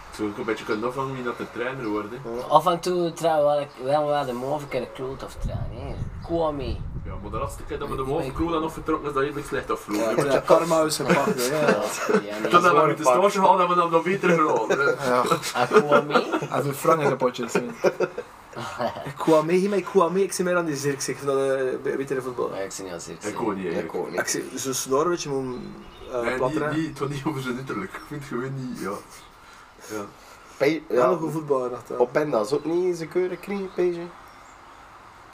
Ik zou ook een beetje kunnen afhangen wie dat de trainer wordt. hè.
Af en toe trouwen we wel, wel de morgen kunnen kloot of trainen. Kom mee.
Ja, maar de laatste keer dat we de Wolf dan nog vertrokken is, dat je niks slecht afvloog.
Ja, de karma is gepakt, hè, ja.
Ja,
Toen
nee.
hebben we moeten
pak.
stage gehaald en we dan nog beter gelopen.
En kom mee.
En voor Frank is een potje. Ik kwam mee, maar ik kwam mee. Ik zie mij aan die zirk. Ik vind dat eh, een be- betere voetbal.
Nee, ik zie niet als eerste.
Ik ook niet
Ik
eigenlijk.
ook
Ik
niet.
zie zo'n snor, weet je, moet eh
Nee,
plat
niet,
rijden.
niet, het was niet over zijn uiterlijk. Ik vind gewoon niet, ja. ja.
Pe-
Wel
ja,
een goed voetballer. eh. dacht ik.
op Penda is ook niet eens een keurig kring, Peesje.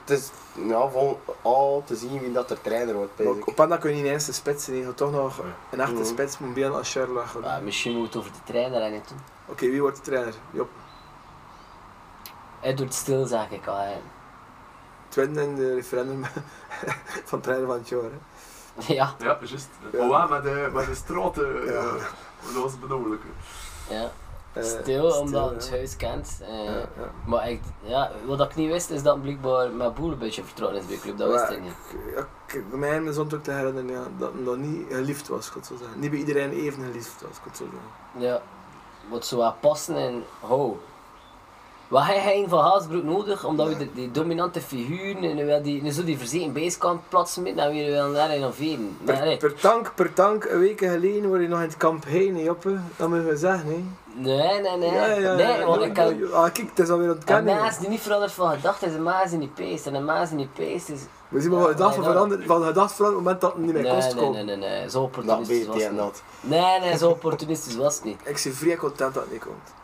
Het is ja, vol al te zien wie dat de trainer wordt,
Maar
Peesje.
Op Panda kun je niet eens een spits zien. Je gaat toch nog
Nee.
een echte
Mhm.
spits moeten bellen als Sherlock.
Maar
Oké,
misschien moet het over de trainer en niet doen.
wie wordt de trainer? Job.
Hij doet stil, zeg ik al. hè.
Twin in de referendum van trainer van het jaar. hè.
Ja,
Ja, juist. Maar waar, met de, met de straat, eh,
Ja.
eh, dat was bedoelijk.
ja.
Eh,
Stil, omdat
ja.
het huis kent. eh.
Ja, ja.
Maar ik, ja, wat ik niet wist, is dat blijkbaar mijn boer een beetje vertrouwen is bij de club. Dat wist
Maar
ik niet.
ik- ik- Mij en mijn zon ook te herinneren ja, dat hem nog niet geliefd was, goed zo zeggen. Niet bij iedereen even geliefd was, goed zo zeggen.
Ja, wat zo wat passen en ho. Wat heb jij van Haasbroek nodig? Omdat we de- die dominante figuren en wel die, en zo die verzeten basecamp plaatsen met en weer wel naar innoveren. Maar
Per,
nee,
per tank, per tank, een week geleden word je nog in het kamp heen, hè, Joppe. Dat moeten we zeggen, hè.
nee, nee, nee. nee, want
ja,
ik kan.
ja, Ah, kijk, het is alweer
Een
ontkennen.
maas die niet verandert van gedachten is een maas die niet peest. En een maas die niet peest is...
We zien maar van
Ja,
gedacht
nee, dat-
veranderd, van gedacht veranderd, op het moment dat het niet meer
Nee,
kost
nee,
komt.
nee, nee, nee. Zo
Dat
opportunistisch
weet
was
hij
het
en
niet.
dat.
Nee, nee, zo opportunistisch was het niet.
Ik ben vrij content dat het niet komt.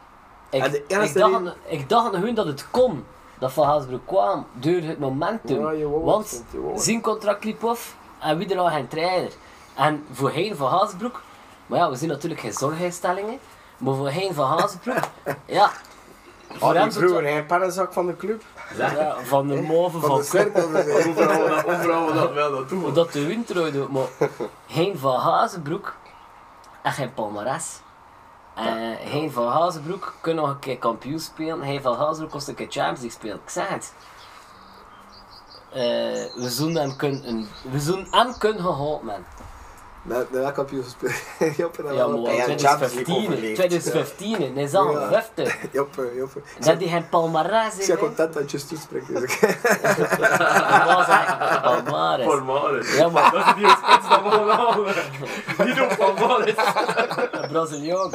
Ik,
En Ah, de
ik,
eerste
dacht,
reden-
ik dacht gewoon dat het kon. Dat Van Haasbroek kwam door het momentum.
Ja, je wou het,
want
je wou het.
zijn contract liep af en wie er al geen trainer. En voorheen Van Haasbroek,
Ah,
maar ja, we zien natuurlijk geen zorginstellingen. Maar voorheen Van Haasbroek, ja, Voor hem
Had
is
je
het-
vroeger geen pannenzak van de club?
Zeg,
Ja, van de move
Van
van
de cirkel. dus, hè.
overal, dat- overal wat dat wel dat doen.
Hoe dat de windrui doet, maar geen Van Hazenbroek en geen Palmares. En geen Van Hazenbroek kan nog een keer kampioen spelen. Geen Van Hazenbroek kost een keer Champions League spelen. Ik zeg het. Eh, we zullen hem kunnen, we zullen hem kunnen geholpen hebben.
Met met welk kampioen gespeeld? Joppe en
Ja, maar
Joppe.
ja, Champions League
2015,
overleefd.
2015, en hij is al
Ja.
50.
Joppe, Joppe.
Dat hij geen Palmares
Ik
heeft.
ben
hè.
content dat je het toespreekt. Dus.
Dat was eigenlijk Palmares.
Palmares.
Ja, maar
Dat is die spits dat we allemaal. Die doen Palmares.
een Braziliaan.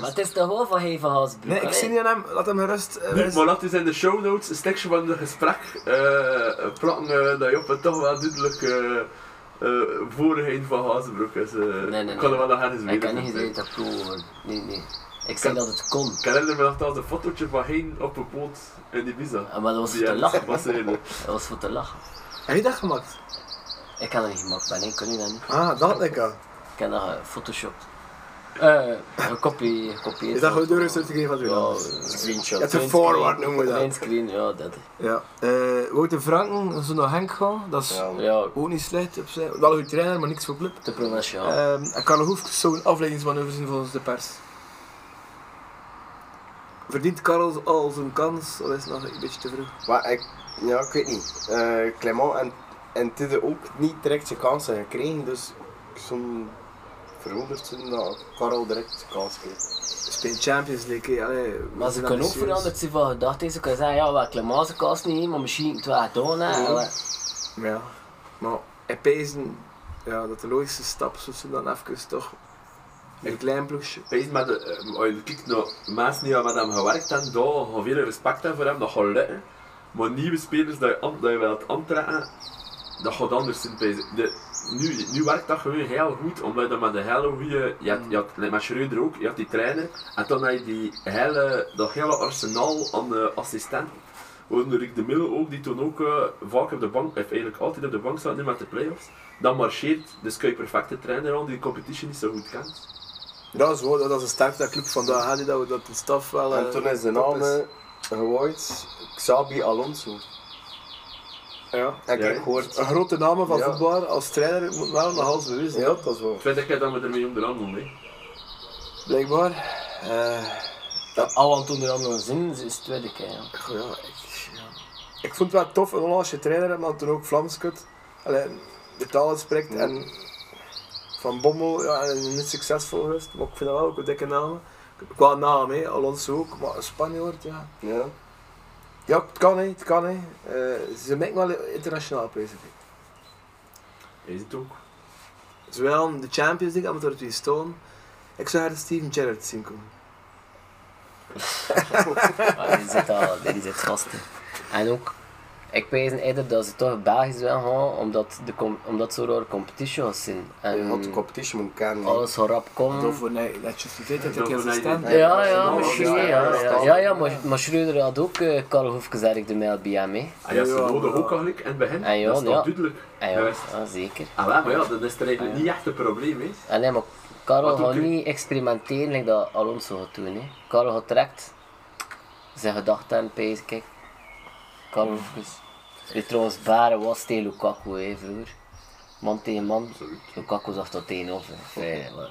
Maar het is toch wel van geen Van Hazenbroek.
Nee, ik
hè?
zie niet aan hem. Laat hem gerust. eh,
Nu,
rust.
maar dat is in de show notes een stukje van het gesprek. eh plakken eh, dat Joppe toch wel duidelijk eh eh voorheen van Hazenbroek is. eh.
nee,
Ik kan er
nee.
wel nog eens
Ik
weten.
kan niet gezegd dat pro wordt. Nee, nee. Ik zei dat het kon.
Ik herinner me nog dat een fotootje van heen op een boot in Ibiza.
Maar dat was voor
Die
te
aan
lachen.
het passeren.
Dat was voor te lachen.
Heb je dat gemaakt?
Ik had dat niet gemaakt, maar nee, ik kon niet dat niet.
Ah, dat had ik al.
Ik heb dat gefotoshopt. Eh, gekopie- gekopieerd.
Is dat gewoon doorgestuurd gegeven van
Ja,
Julian?
Screenshot.
Het is een forward noemen we
Mijn
dat.
screen, ja, dat.
Ja. Eh, Wouter Franken, zo naar Henk gaan. Dat is
Ja.
Ja,
ook niet slecht. Opzij. Wel een goede trainer, maar niks voor club.
te provinciaal.
Ehm, en Karel Hoefkes zou een afleidingsmanoeuvre zijn volgens de pers. Verdient Karel al zijn kans? Of is het nog een beetje te vroeg?
Maar ik, ja, ik weet niet. Eh Clement en, en Tidde ook niet direct zijn kansen gekregen, dus zo'n verwonderd zijn dat Karel direct zijn kans kreeg.
Speel Champions League, hè. Allee, we
Maar ze
zijn
kunnen ook
ambitieus.
veranderd zijn van gedachten. Ze kunnen zeggen, ja, we hebben Clemence kast niet, maar misschien het wel gedaan. hè.
Ja. Ja, maar hij pezen, ja, dat de logische stap zou zijn dan even toch een klein ploegje.
Wees met de, eh, als je kijkt naar mensen die met hem gewerkt hebben, daar gaan veel respect hebben voor hem, dat gaat lukken. Maar nieuwe spelers dat je, aan- dat je wilt aantrekken, dat gaat anders zijn. wees. De, nu, nu werkt dat gewoon heel goed, omdat je dat met de hele goede, je had, je had like met Schreuder ook, je had die trainer, en toen had je die hele, dat hele arsenaal aan de assistenten. Onder Rick de Mille ook, die toen ook eh, vaak op de bank, of eigenlijk altijd op de bank staat, nu met de playoffs. Dat marcheert, dus kun je perfecte trainer aan die de competition niet zo goed kent.
Dat is, wel- dat is een sterk dat club vandaag had, dat, we- dat de staf wel... eh,
En toen is de
top
naam eh, gewaaid Xabi Alonso.
Ja.
En
Ja,
ik
hè?
hoort.
Een grote naam van
Ja.
voetbal als trainer moet wel nog alles bewezen.
Ja, dat is wel.
Tweede keer dat we ermee om de rand doen, hè.
Blijkbaar. Eh,
Al aan het onder andere zin is het tweede keer. ja.
goh, ja, ik, ja. ik vond het wel tof, een Hollandse trainer, hebt, maar toen ook Vlaams kut. Allee, de taal spreekt en Van Bommel ja, en niet succesvol geweest, maar ik vind dat wel ook een dikke naam. Qua naam, hè, Alonso ook, maar een Spanjaard, ja.
Ja.
Ja, het kan hè, het kan hè. Eh, ze maken wel internationaal prijzen. vind ik.
Is het ook.
Zowel aan de Champions League, amateur twee stone. Ik zou haar Steven Gerrard zien komen.
Maar die zit al, die zit vast. hè. En ook, ik wijs eerder dat ze toch Belgisch wel gaan, omdat, de, com- omdat zo rare competitions zijn. En
Je had de competition moeten kennen.
alles zo rap komt.
voor nee, dat je vergeet dat
Doe voor nee,
stand.
nee.
Ja, ja,
Ja,
misschien.
ja,
Ja, ja,
ja.
ja, ja, maar, maar Schreuder had ook eh, Karel Hoefkes eigenlijk de MLBA mee.
En Ah, ja, ze
Ja,
nodig
ja.
ook eigenlijk in het begin.
Ah, ja,
dat is toch
ja.
duidelijk.
En ja,
Juist.
ja, zeker.
Ah, wel, maar ja, dat is er eigenlijk
Ah,
niet echt een probleem, hè.
En nee, maar Karel
Wat doet
gaat
u?
niet experimenteren like dat Alonso gaat doen. Hè. Karel gaat direct zijn gedachten aan pees, kijk. Karel Hoefkes. Die trouwens bare was tegen Lukaku hè, vroeger. Man tegen man. Lukaku zag dat tegenover. Nee, maar-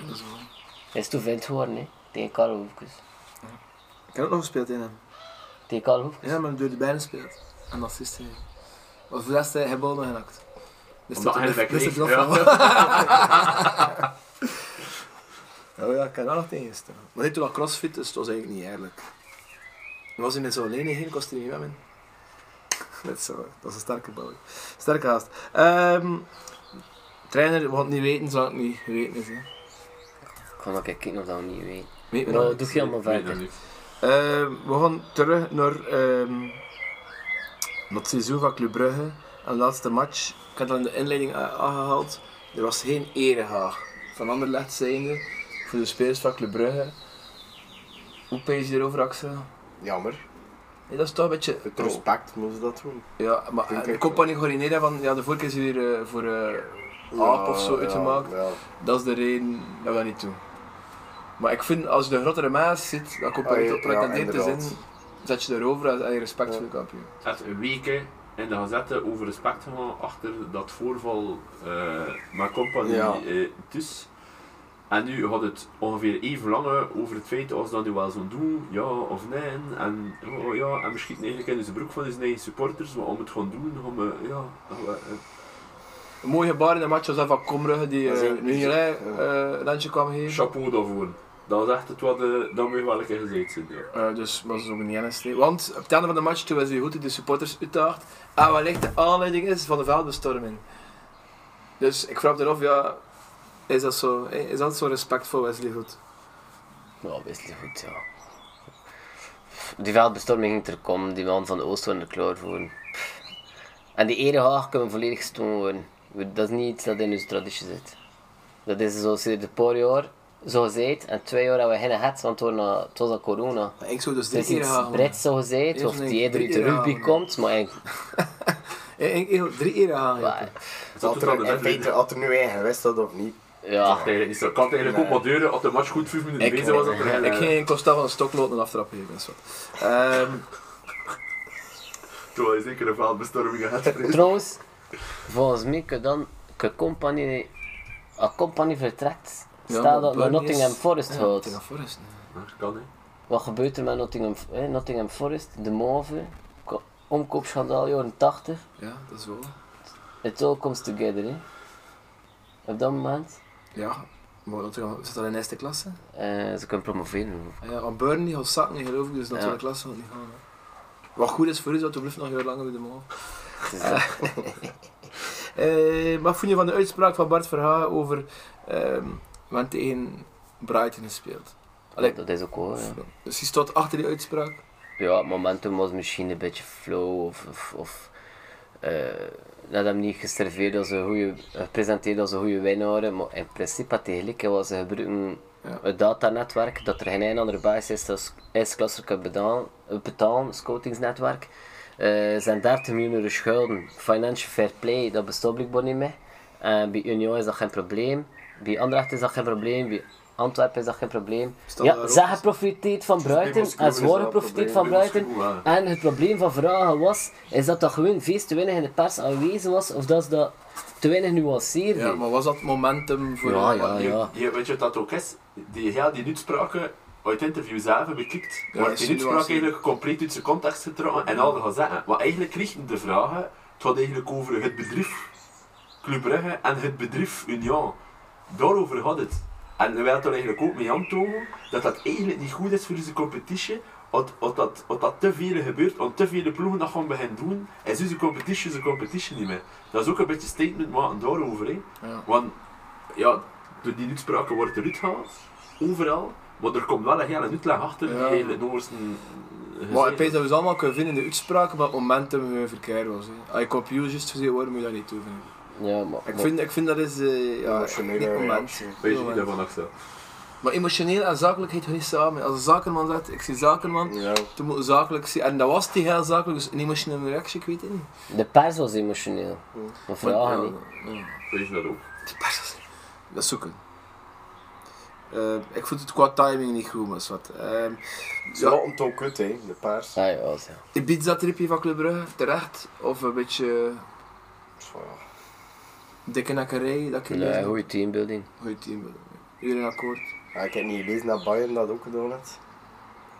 Hij is toen vent geworden hè, tegen Karel Hoefkes.
Ik heb ook nog gespeeld in hem.
Tegen Karel Hoefkes.
Ja, maar hem door de bijna speelt. En dat is hij. Maar voor de rest hij bal nog genakt. Dus
Omdat hij
dat
erbij
dat is
kreeg.
het eraf
Ja.
van. Oh ja, ik kan daar nog tegen staan. Maar dit toen dat crossfit, dus dat was eigenlijk niet eerlijk. En was hij met zo'n lening heen, kost hij niet meer in. Dat is zo, dat is een sterke bal. Sterke haast. Ehm, trainer, wat niet weten, zal het niet weten is. Hè.
Ik ga nog een keer kijken of dat we niet weten.
Weet men
Nou,
niet.
doe je allemaal
Nee, dat
verder.
niet.
Eh, we gaan terug naar, ehm, naar het seizoen van Club Brugge. En de laatste match, ik had al in de inleiding a- aangehaald, er was geen erehaag. Van Anderlecht zijnde, voor de spelers van Club Brugge. Hoe pees je erover, Axel?
Jammer.
Nee, dat is toch een beetje...
Het respect moest dat doen.
Ja, maar
Vind
eh,
ik
de
ook
compagnie Gorinera van, ja, de vorige keer is hier eh, voor eh aap of zo
Ja,
uitgemaakt.
Ja,
Dat is de reden dat we dat niet doen. Maar ik vind, als je de grotere maas zit, dan komt
Ah,
er
ja,
niet op pretendeert te
inderdaad.
zijn, zet je erover en- en je respect voor de kampioen.
Het weken in de gazette over respect gegaan achter dat voorval eh met compagnie
Ja.
eh, dus. En nu had het ongeveer even lange over het feit als dat nu wel zo'n doen, ja of nee. En, oh, ja, en misschien eigenlijk in zijn broek van zijn eigen supporters, maar om het gewoon doen, om, eh, ja, om, eh,
Een mooi gebaar in de match was dat van Komrugge, die
Dat is
eh,
een-
nu een rij, eh, landje kwam geven.
chapeau daarvoor. Dat is echt het wat, eh, dat moet je wel een keer gezegd zijn. Ja.
Eh, dus was het ook niet ernst. nee. Want op het einde van de match, toen was hij goed de supporters uitdaagd. En wellicht de aanleiding is van de veldbestorming. Dus ik vraag me af, ja, is dat zo, eh, is dat zo respect voor Wesley Goed?
Ja, best wel goed, ja. Die veldbestorming ging er komen, die man van de Oost waren er klaar voor. Pff. En die erehaag kunnen volledig gestolen worden. We- Dat is niet iets dat in onze traditie zit. Dat is zo sinds een paar jaar, zo gezegd, en twee jaar hebben we geen gehad, want het was na- het was al corona.
Ik zou dus
Het
drie
is
keer
iets
gaan.
breed zo gezegd,
Eerst
of
een
die eerder uit de
drie keer
rugby
halen.
komt, maar eigenlijk...
Eh, Ik ik- drie keer gaan. ja.
maar,
Dat
Had
doet
er,
dan
en
de
Peter, had er nu eigen gewist dat of niet?
Ja,
Ach, eigenlijk niet zo. Ik had eigenlijk ook
Nee.
maar deuren, als de match goed vijf minuten
Ik,
bezig was, dat er geen,
ik
eh,
ging Costa van een stokloot een aftrap geven. dat is wat. Ehm,
Toen hij zeker een veldbestorming had.
Trouwens, volgens mij kan dan een compagnie, een compagnie vertrekt.
Ja,
Stel
maar
dat naar
Burnley
Nottingham
is-
Forest
ja,
houdt.
Nottingham Forest.
Maar Kan hè.
Wat gebeurt er met Nottingham, eh, Nottingham Forest? De Mauve, ko- omkoopschandaal jaren 80.
Ja, dat is wel.
It all comes together, hè. Op dat moment.
Ja, maar Nottingham zit al in eerste klasse.
eh, ze kunnen promoveren.
Ah Ja, aan Burnley gaat zakken, niet, geloof ik, dus dat
Ja.
zou de klasse gaat niet gaan. hè. Wat goed is voor u, dat we blijft nog heel lang in de man.
Het is, eh,
Eh, wat vond je van de uitspraak van Bart Verhagen over ehm want tegen Brighton gespeeld? Allee,
dat is ook hoor. Ja.
Dus je staat achter die uitspraak?
ja, het momentum was misschien een beetje flow of. of, of eh, dat hem niet geserveerd als een goede, gepresenteerd als een goede winnaar, maar in principe had hij gelijk, hè, want ze gebruiken
Ja.
het datanetwerk, dat er geen een andere baas is dat S-klasser kan betalen, betalen scoutingsnetwerk. Eh, zijn 30 miljoen euro schulden. Financial fair play, dat bestaat blijkbaar niet meer. En bij Union is dat geen probleem, bij Anderlecht is dat geen probleem, bij Antwerpen is dat geen probleem.
Staan
ja,
daarop.
ze geprofiteerd van Bruiten,
Moskou
en
is dat
zwaar
een
geprofiteerd
probleem.
van
Bij
Bruiten.
Moskou, ja.
En het probleem van vragen was, is dat dat gewoon feest te weinig in de pers aanwezig was, of dat ze dat te weinig nuanceerde.
Ja, maar was dat momentum voor
Ja, ja,
Die-
ja.
die- weet je wat dat ook is? Die heel die uitspraken uit interviews zelf beklikt,
Ja,
wordt
dat
die
is
uitspraak
nuance.
eigenlijk compleet uit zijn context getrokken en al de gazetten. Maar eigenlijk richten de vragen, het gaat eigenlijk over het bedrijf Club Brugge en het bedrijf Union. Daarover had het. En hij wil er eigenlijk ook mee aantonen dat dat eigenlijk niet goed is voor onze competitie. Want want dat, want dat te veel gebeurt, want te veel ploegen dat gaan beginnen doen, is onze competitie onze competitie niet meer. Dat is ook een beetje statement maken daarover. Hè.
Ja.
Want ja, door die uitspraken wordt eruit gehaald, overal. Maar er komt wel een hele uitleg achter die
Ja.
eigenlijk nog eens een...
Maar ik weet dat we ze allemaal kunnen vinden in de uitspraak, maar momentum gewoon verkeerd was. Hè. Als je kampioen juist gezien wordt, moet je dat niet doen. vind ik.
Ja, maar,
Ik vind, ik vind dat is eh, ja,
Emotionele
niet moment.
reactie.
Weet je
Moment.
niet daarvan Axel?
Maar emotioneel en zakelijkheid gaan niet samen. Als een zakenman zegt, ik zie zakenman,
Ja.
toen moet een zakelijk zien. En dat was die heel zakelijk, dus een emotionele reactie, ik weet het niet.
de pers was emotioneel. Maar vragen niet.
ja, ja.
Weet je dat ook?
Die pers. Dat zoeken. Eh, ik vond het qua timing niet goed, maar is wat. Eh,
Ze laten het ook kut, hè, de paars.
Ah, ja, zo.
Ibiza-tripje van Club Brugge, terecht. Of een beetje eh,
Zo, ja.
dikke nekkerij, dat ik
Nee,
lees.
goede teambuilding.
Goed team. Iedereen akkoord.
Ja, Ik heb niet gelezen dat Bayern dat ook gedaan heeft.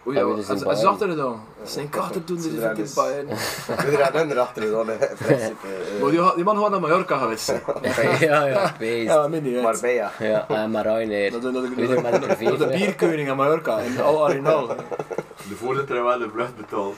Oei,
Ja,
ja,
maar dit is
dat
in
is
Bayern.
achter dan. Zijn kaarten doen, dus
Ja,
ik
dat is-
in Bayern.
Iedereen en erachter dan, hè, in principe. eh.
Maar die, die man gewoon naar Mallorca geweest zijn.
ja, ja, beest.
Ja, minder.
Maar bij ja.
Ja, en maar Ryanair.
Dat, dat, dat,
Weet je, met een
dat de
veer.
bierkeuning aan Mallorca, in al arenal.
De voorzitter wel de brug betaald.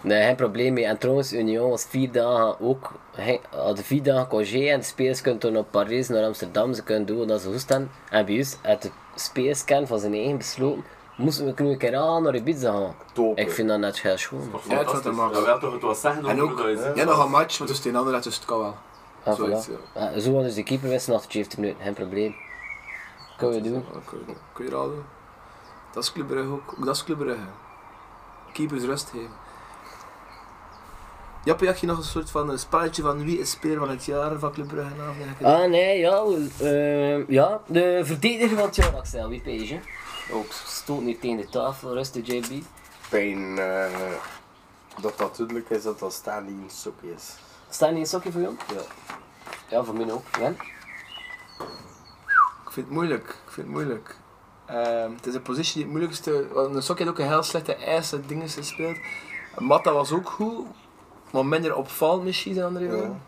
Nee, geen probleem mee. En trouwens, Union was vier dagen ook. Hij had vier dagen congé en de spelers kunnen toen naar Parijs, naar Amsterdam. Ze kunnen doen wat ze hoesten. En bij ons, uit de spelerscan van zijn eigen besloten, moesten we kunnen een keer aan naar Ibiza gaan.
Top.
Ik vind dat net heel schoon.
Toch
Ja, het was de
fantastisch.
max.
Dat wil toch het wel zeggen
En
over
ook-
dat je zegt.
Ja, nog een match, maar dus tegen anderen, dus het kan wel.
Ah,
Zoiets,
voilà. Ah, Zo was dus de keeper wist nog 17 minuten, geen probleem. Kunnen we doen.
Ja, kun je- Kun je dat al doen? Dat is Club Brugge ook. Ook dat is Club Brugge. Keepers rust geven. Jappe, had je nog een soort van eh, spelletje van wie is speler van het jaar van Club Brugge? Nou, en Aken?
Ah nee, ja, eh, ja, de verdediger van het jaar, Axel, wie pees je? Ook stoot niet tegen de tafel, rustig JB.
pijn eh, dat dat duidelijk is dat dat staan die een soep is.
Staan die een sokje voor jou?
Ja.
Ja, voor mij ook, Jan.
Ik vind het moeilijk. Ik vind het moeilijk. Ehm, het is een positie die het moeilijkste. Want een sok heeft ook een heel slechte ijs en dingen gespeeld. Matta was ook goed, maar minder opvallend misschien dan andere jaren.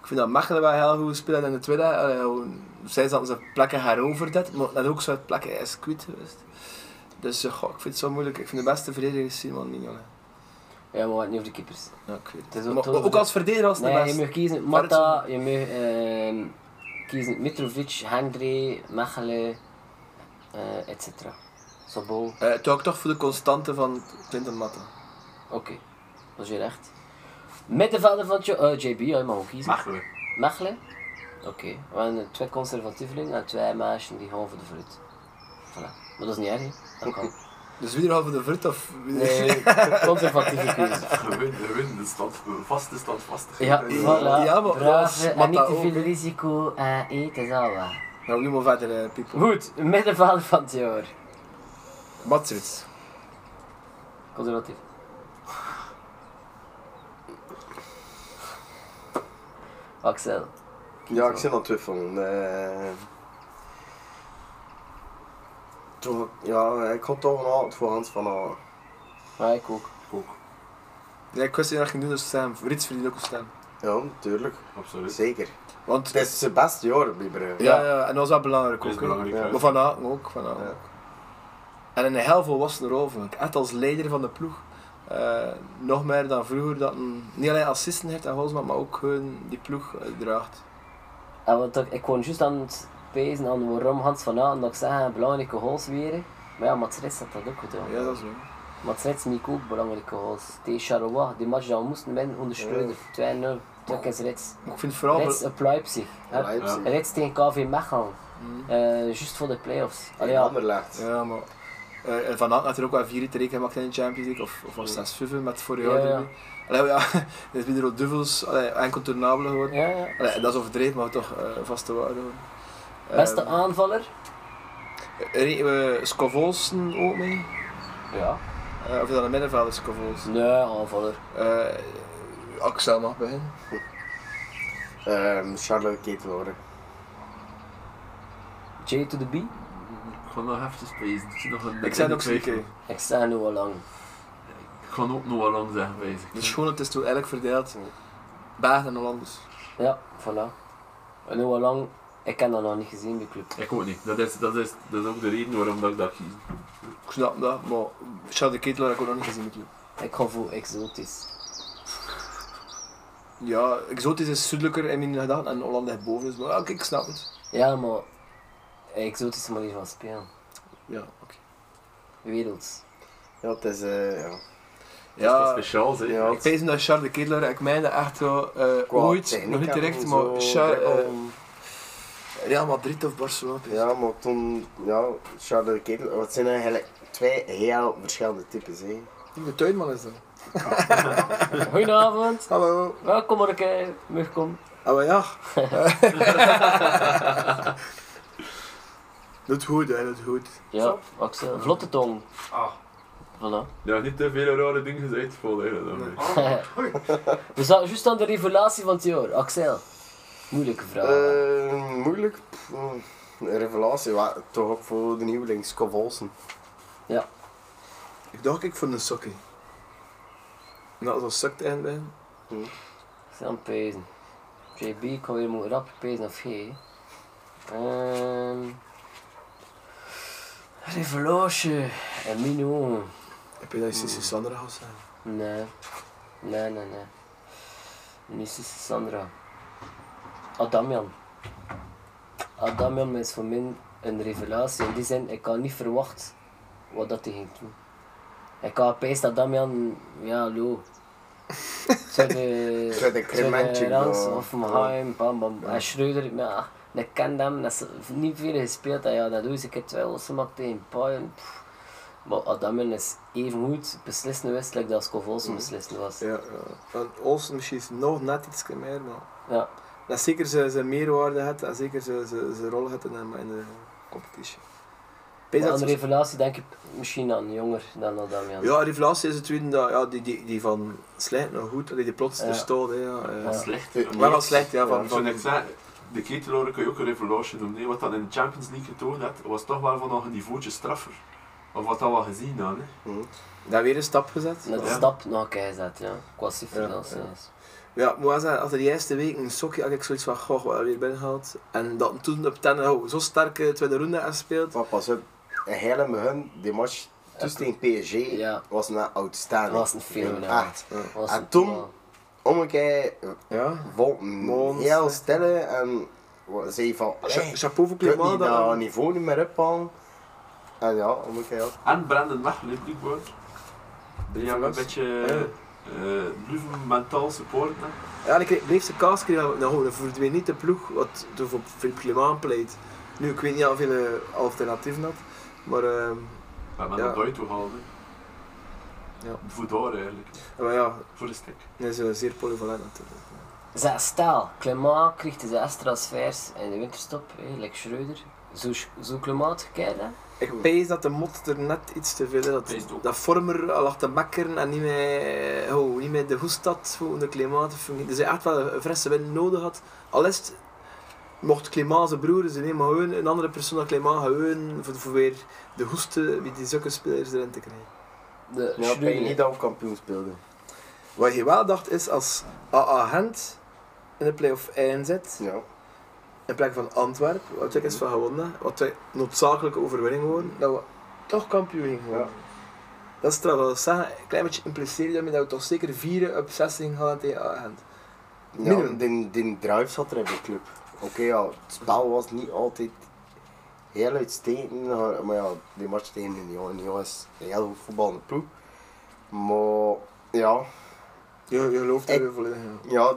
Ik vind dat Mechelen wel heel goed gespeeld in de tweede. Allee, gewoon, Zij zaten zijn plekken heroverd, dat, maar dat ook zo het plekken is kwijt geweest. Dus eh, goh, ik vind het zo moeilijk. Ik vind de beste verdediger is Simon Mignolet.
Ja, maar wat niet over de keepers.
Ja, ik weet het.
Het is ook
Maar-
toch-
maar ook als verdediger was het
Nee, je
de
mag
beste.
kiezen Mata, je mag ehm, kiezen Mitrovic, Hendry, Mechelen, eh et cetera. Sabol. Oké,
Eh, Toen had ik toch voor de constante van Clinton Matta.
dat is weer echt. Middenvelder van het jaar- eh, JB, ja, je mag ook kiezen.
Machelijk.
Mechelen? Oké, we hebben twee conservatievelingen en twee meisjes die gaan voor de fruit. Voilà. Maar dat is niet erg, hè? Dat kan.
Dus wie er al voor de vrucht of wie er-
Nee, conservatieve keuze.
Win, win, de stand, vaste stand vast.
Ja, voilà.
Ja, maar
Braaf,
als
en niet
Mata
te
ook, hè.
veel risico eh, eten zal wel.
Nou, nu maar verder, eh, people.
Goed, middenvelder van het jaar.
Matsits.
Conservatief. Axel.
Ja, ik zit aan het twijfelen. eh. toch, ja, ik had toch een hart voor Hans van eh, Aken.
Ja, ik ook.
Ja, ik wist niet dat ik ging doen, dus stem. Rits verdient ook een stem.
Ja, natuurlijk.
Absoluut.
Zeker.
Want,
Het is zijn beste jaar bij Brugge.
ja, ja, en dat was wel belangrijk
Dat is
ook. hè.
belangrijk.
Ja.
hè.
Maar Van Aken ook, Van Aken
Ja.
ook. En een heel volwassen rol, vond ik. Echt als leider van de ploeg. eh, nog meer dan vroeger, dat een, niet alleen assisten heeft aan Holzman, maar ook gewoon die ploeg eh, draagt.
En wat ik, ik kon juist aan het pezen aan waarom Hans van Aten nog zeggen belangrijke goals weer. Maar ja, Mats Rits had dat ook gedaan.
Ja, dat is wel.
Mats Rits maakt ook belangrijke goals. Tegen Charleroi, die match dat we moesten winnen, ondersteunen. 2-0. Toen is Rits.
Maar ik vind vooral...
Rits op Leipzig. hè.
Leipzig.
Rits tegen KV Mechelen.
Mm.
Eh, juist voor de play-offs. Allee,
En
ja.
Anderlecht.
Ja, maar... eh, en Van Aken had er ook wel vier te rekenen gemaakt in de Champions League, of, of was dat Suven met vorig jaar
Ja, ja.
erbij. Allee, ja, dat is binnen Duvels, allee, enkel toernabelen geworden.
Ja, ja.
Allee, dat is overdreven, maar toch eh vast te waarde. hoor. Eh,
Beste
Ehm,
aanvaller?
rekenen we Scovolsen ook mee?
Ja.
Eh, of is dat een middenvelder Scovolsen?
Nee, aanvaller.
Eh Axel mag beginnen.
Ehm, Charlotte Keteloren.
J to the B?
Ik ga nog even spelen. Ik, zie nog een-
Ik zei het ook
twijfel.
zeker.
Ik sta nu al lang.
Ik ga ook nog wel lang zeggen, bezig.
Dus gewoon, het is toen eigenlijk verdeeld. Belgen en Hollanders.
Ja, voilà. En nu al lang, ik heb dat nog niet gezien, die club.
Ik ook niet. Dat is, dat, is, dat is ook de reden waarom dat ik dat kies. Dus
Ik snap dat, maar Charles de Ketelaar heb ik ook nog niet gezien. met club.
Ik ga voor exotisch.
Ja, exotisch is zuidelijker in mijn gedachten en Holland is boven. Dus, maar ja, oké, ik snap het.
Ja, maar een exotische manier van spelen.
Ja, oké.
Werelds.
Ja, het is... eh, ja.
Dat is
Ja,
wat speciaals, hè.
Ja.
ik pees hem dat Charles de Ketelaar, ik meen dat echt wel eh,
Qua
ooit,
techniek
nog niet
en
direct,
zo,
maar Char, eh,
dribbel.
Real Madrid of Barcelona. pees.
Ja, maar toen... Ja, Charlotte Keteloren... Het zijn eigenlijk twee heel verschillende types, hè.
De tuinman is dat.
Goedenavond.
Hallo.
Welkom Marke. Mugkom.
Ah, maar ja. Doet goed, hè, doet goed.
Ja, Axel. Vlotte tong. Voilà.
Ja, niet te veel rare dingen uit volgen. dan, hè.
We zaten juist aan de revelatie van het jaar. Axel. Moeilijke vraag.
Eh, moeilijk. Pff, een revelatie. wa- toch ook voor de nieuweling, Scott Olsen.
Ik dacht ik voor een sokkie. En dat was sukt eind bij.
Ik zal hem pezen. JB kan weer moeten rap pezen of geen. Ehm. Revelage. En Mino.
Heb je dat je Sissi Sandra gaat zijn?
Nee. Nee, nee, nee. Niet Sissy Sandra. Adamian. Adamian is voor mij een revelatie. In die zin, ik had niet verwacht wat dat hij ging doen. Ik had opeens dat Adamian, ja, lo. Tweede,
Tweede Cremantje,
Rans,
ja.
Hoffenheim, bam bam. En Schreuder, nou. ja, ik ken hem, dat is niet veel gespeeld. hè. Ja, dat doe ik het wel, ze maakt tegen Bayern. pff. Maar Adammen is evengoed beslissende wedstrijd dat als Kovolsen beslissende was. Ja.
Ja, ja. Want Olsen misschien nog net iets meer, maar dat is zeker zijn, zijn meerwaarde had en zeker zijn, zijn, zijn rol had in, de- in de competition. Ik
Maar
denk dat
Aan
ze-
revelatie denk ik misschien aan jonger dan Adamian.
Ja, Rivelatie is het tweede, dat, ja, die, die, die van slecht nog goed, allee, die plots
Ja.
er staat. hè, Ja, eh.
Ja.
Slecht.
Maar wel slecht, ja. Van, van,
Ik zou net zeggen, de keteloren kun je ook een revolution noemen. hè. Wat dat in de Champions League getoond had, was toch wel van nog een niveautje straffer. Of wat dat we al gezien hadden. hè.
daar weer een stap gezet.
Met de
Ja.
stap naar Keizet, ja. Qua cijfer
Ja,
dat ze
ja.
is.
Ja, ik moet wel zeggen, after die eerste week een sokje had ik zoiets van, goh, wat weer binnengehaald. En dat toen op ten oh, zo sterke tweede ronde aan speelt.
Maar pas op, een hele begin, die match tussen tegen PSG
Ja.
was een outstanding.
Dat was een film, ja.
Echt.
Was
En
een-
toen- Om een keer
Ja.
Wolken
Mons,
heel
hè.
stille en wa- zei van,
Cha-
hey,
chapeau voor
ik kan
Clément.
niet
dat-
dat niveau niet meer ophalen. En ja, om een keer ook.
En Brandon Mechel in Bloedboord. Die hebben een beetje eh blijven mentaal support. hè.
Ja, en ik kreeg- bleef ze kaas krijgen, nou, dat verdween niet de ploeg wat toen voor Philippe Clément pleit. Nu, ik weet niet of je alternatieven had, maar, ehm,
We hebben
Ja.
dat uit gehaald.
Ja.
Ja. Voor daar eigenlijk.
maar ja,
Voor de stek.
hij is eh, zeer polyvalent natuurlijk.
Zeg, stel, Clément kreeg de zes transfers in de winterstop, hè, like Schreuder. Zo, zo Clément gekeken, hè?
Ik pees dat de mot er net iets te veel is. Dat,
Pees het ook.
dat vormer lag te makkeren en niet meer, oh, niet meer de hoest had voor de klimaat. of niet. Dus hij echt wel een frisse wind nodig had. Al is het, mocht klimaat zijn broer zijn, nee, maar gewoon een andere persoon dan klimaat gewoon voor, voor weer de hoesten wie die zulke spelers erin te krijgen.
De
Ja, ik denk niet dat we kampioen speelden.
Wat je wel dacht is als AA Gent in de play-off eind zit,
Ja.
in plek van Antwerpen, wat ik is van gewonnen, wat wij noodzakelijke overwinning worden, dat we toch kampioen gingen worden. Dat is trouwens wel zeggen, een klein beetje impliceert daarmee dat we toch zeker vieren op zes gaan gaan tegen Agent.
Ja,
Minimum.
die, die drive zat er in de club. Oké, ja, het spel was niet altijd heel uitstekend, maar- maar ja, die match tegen de Union is een heel goed voetballende ploeg. Maar ja,
Je, je gelooft
Ik-
er volledig in.
ja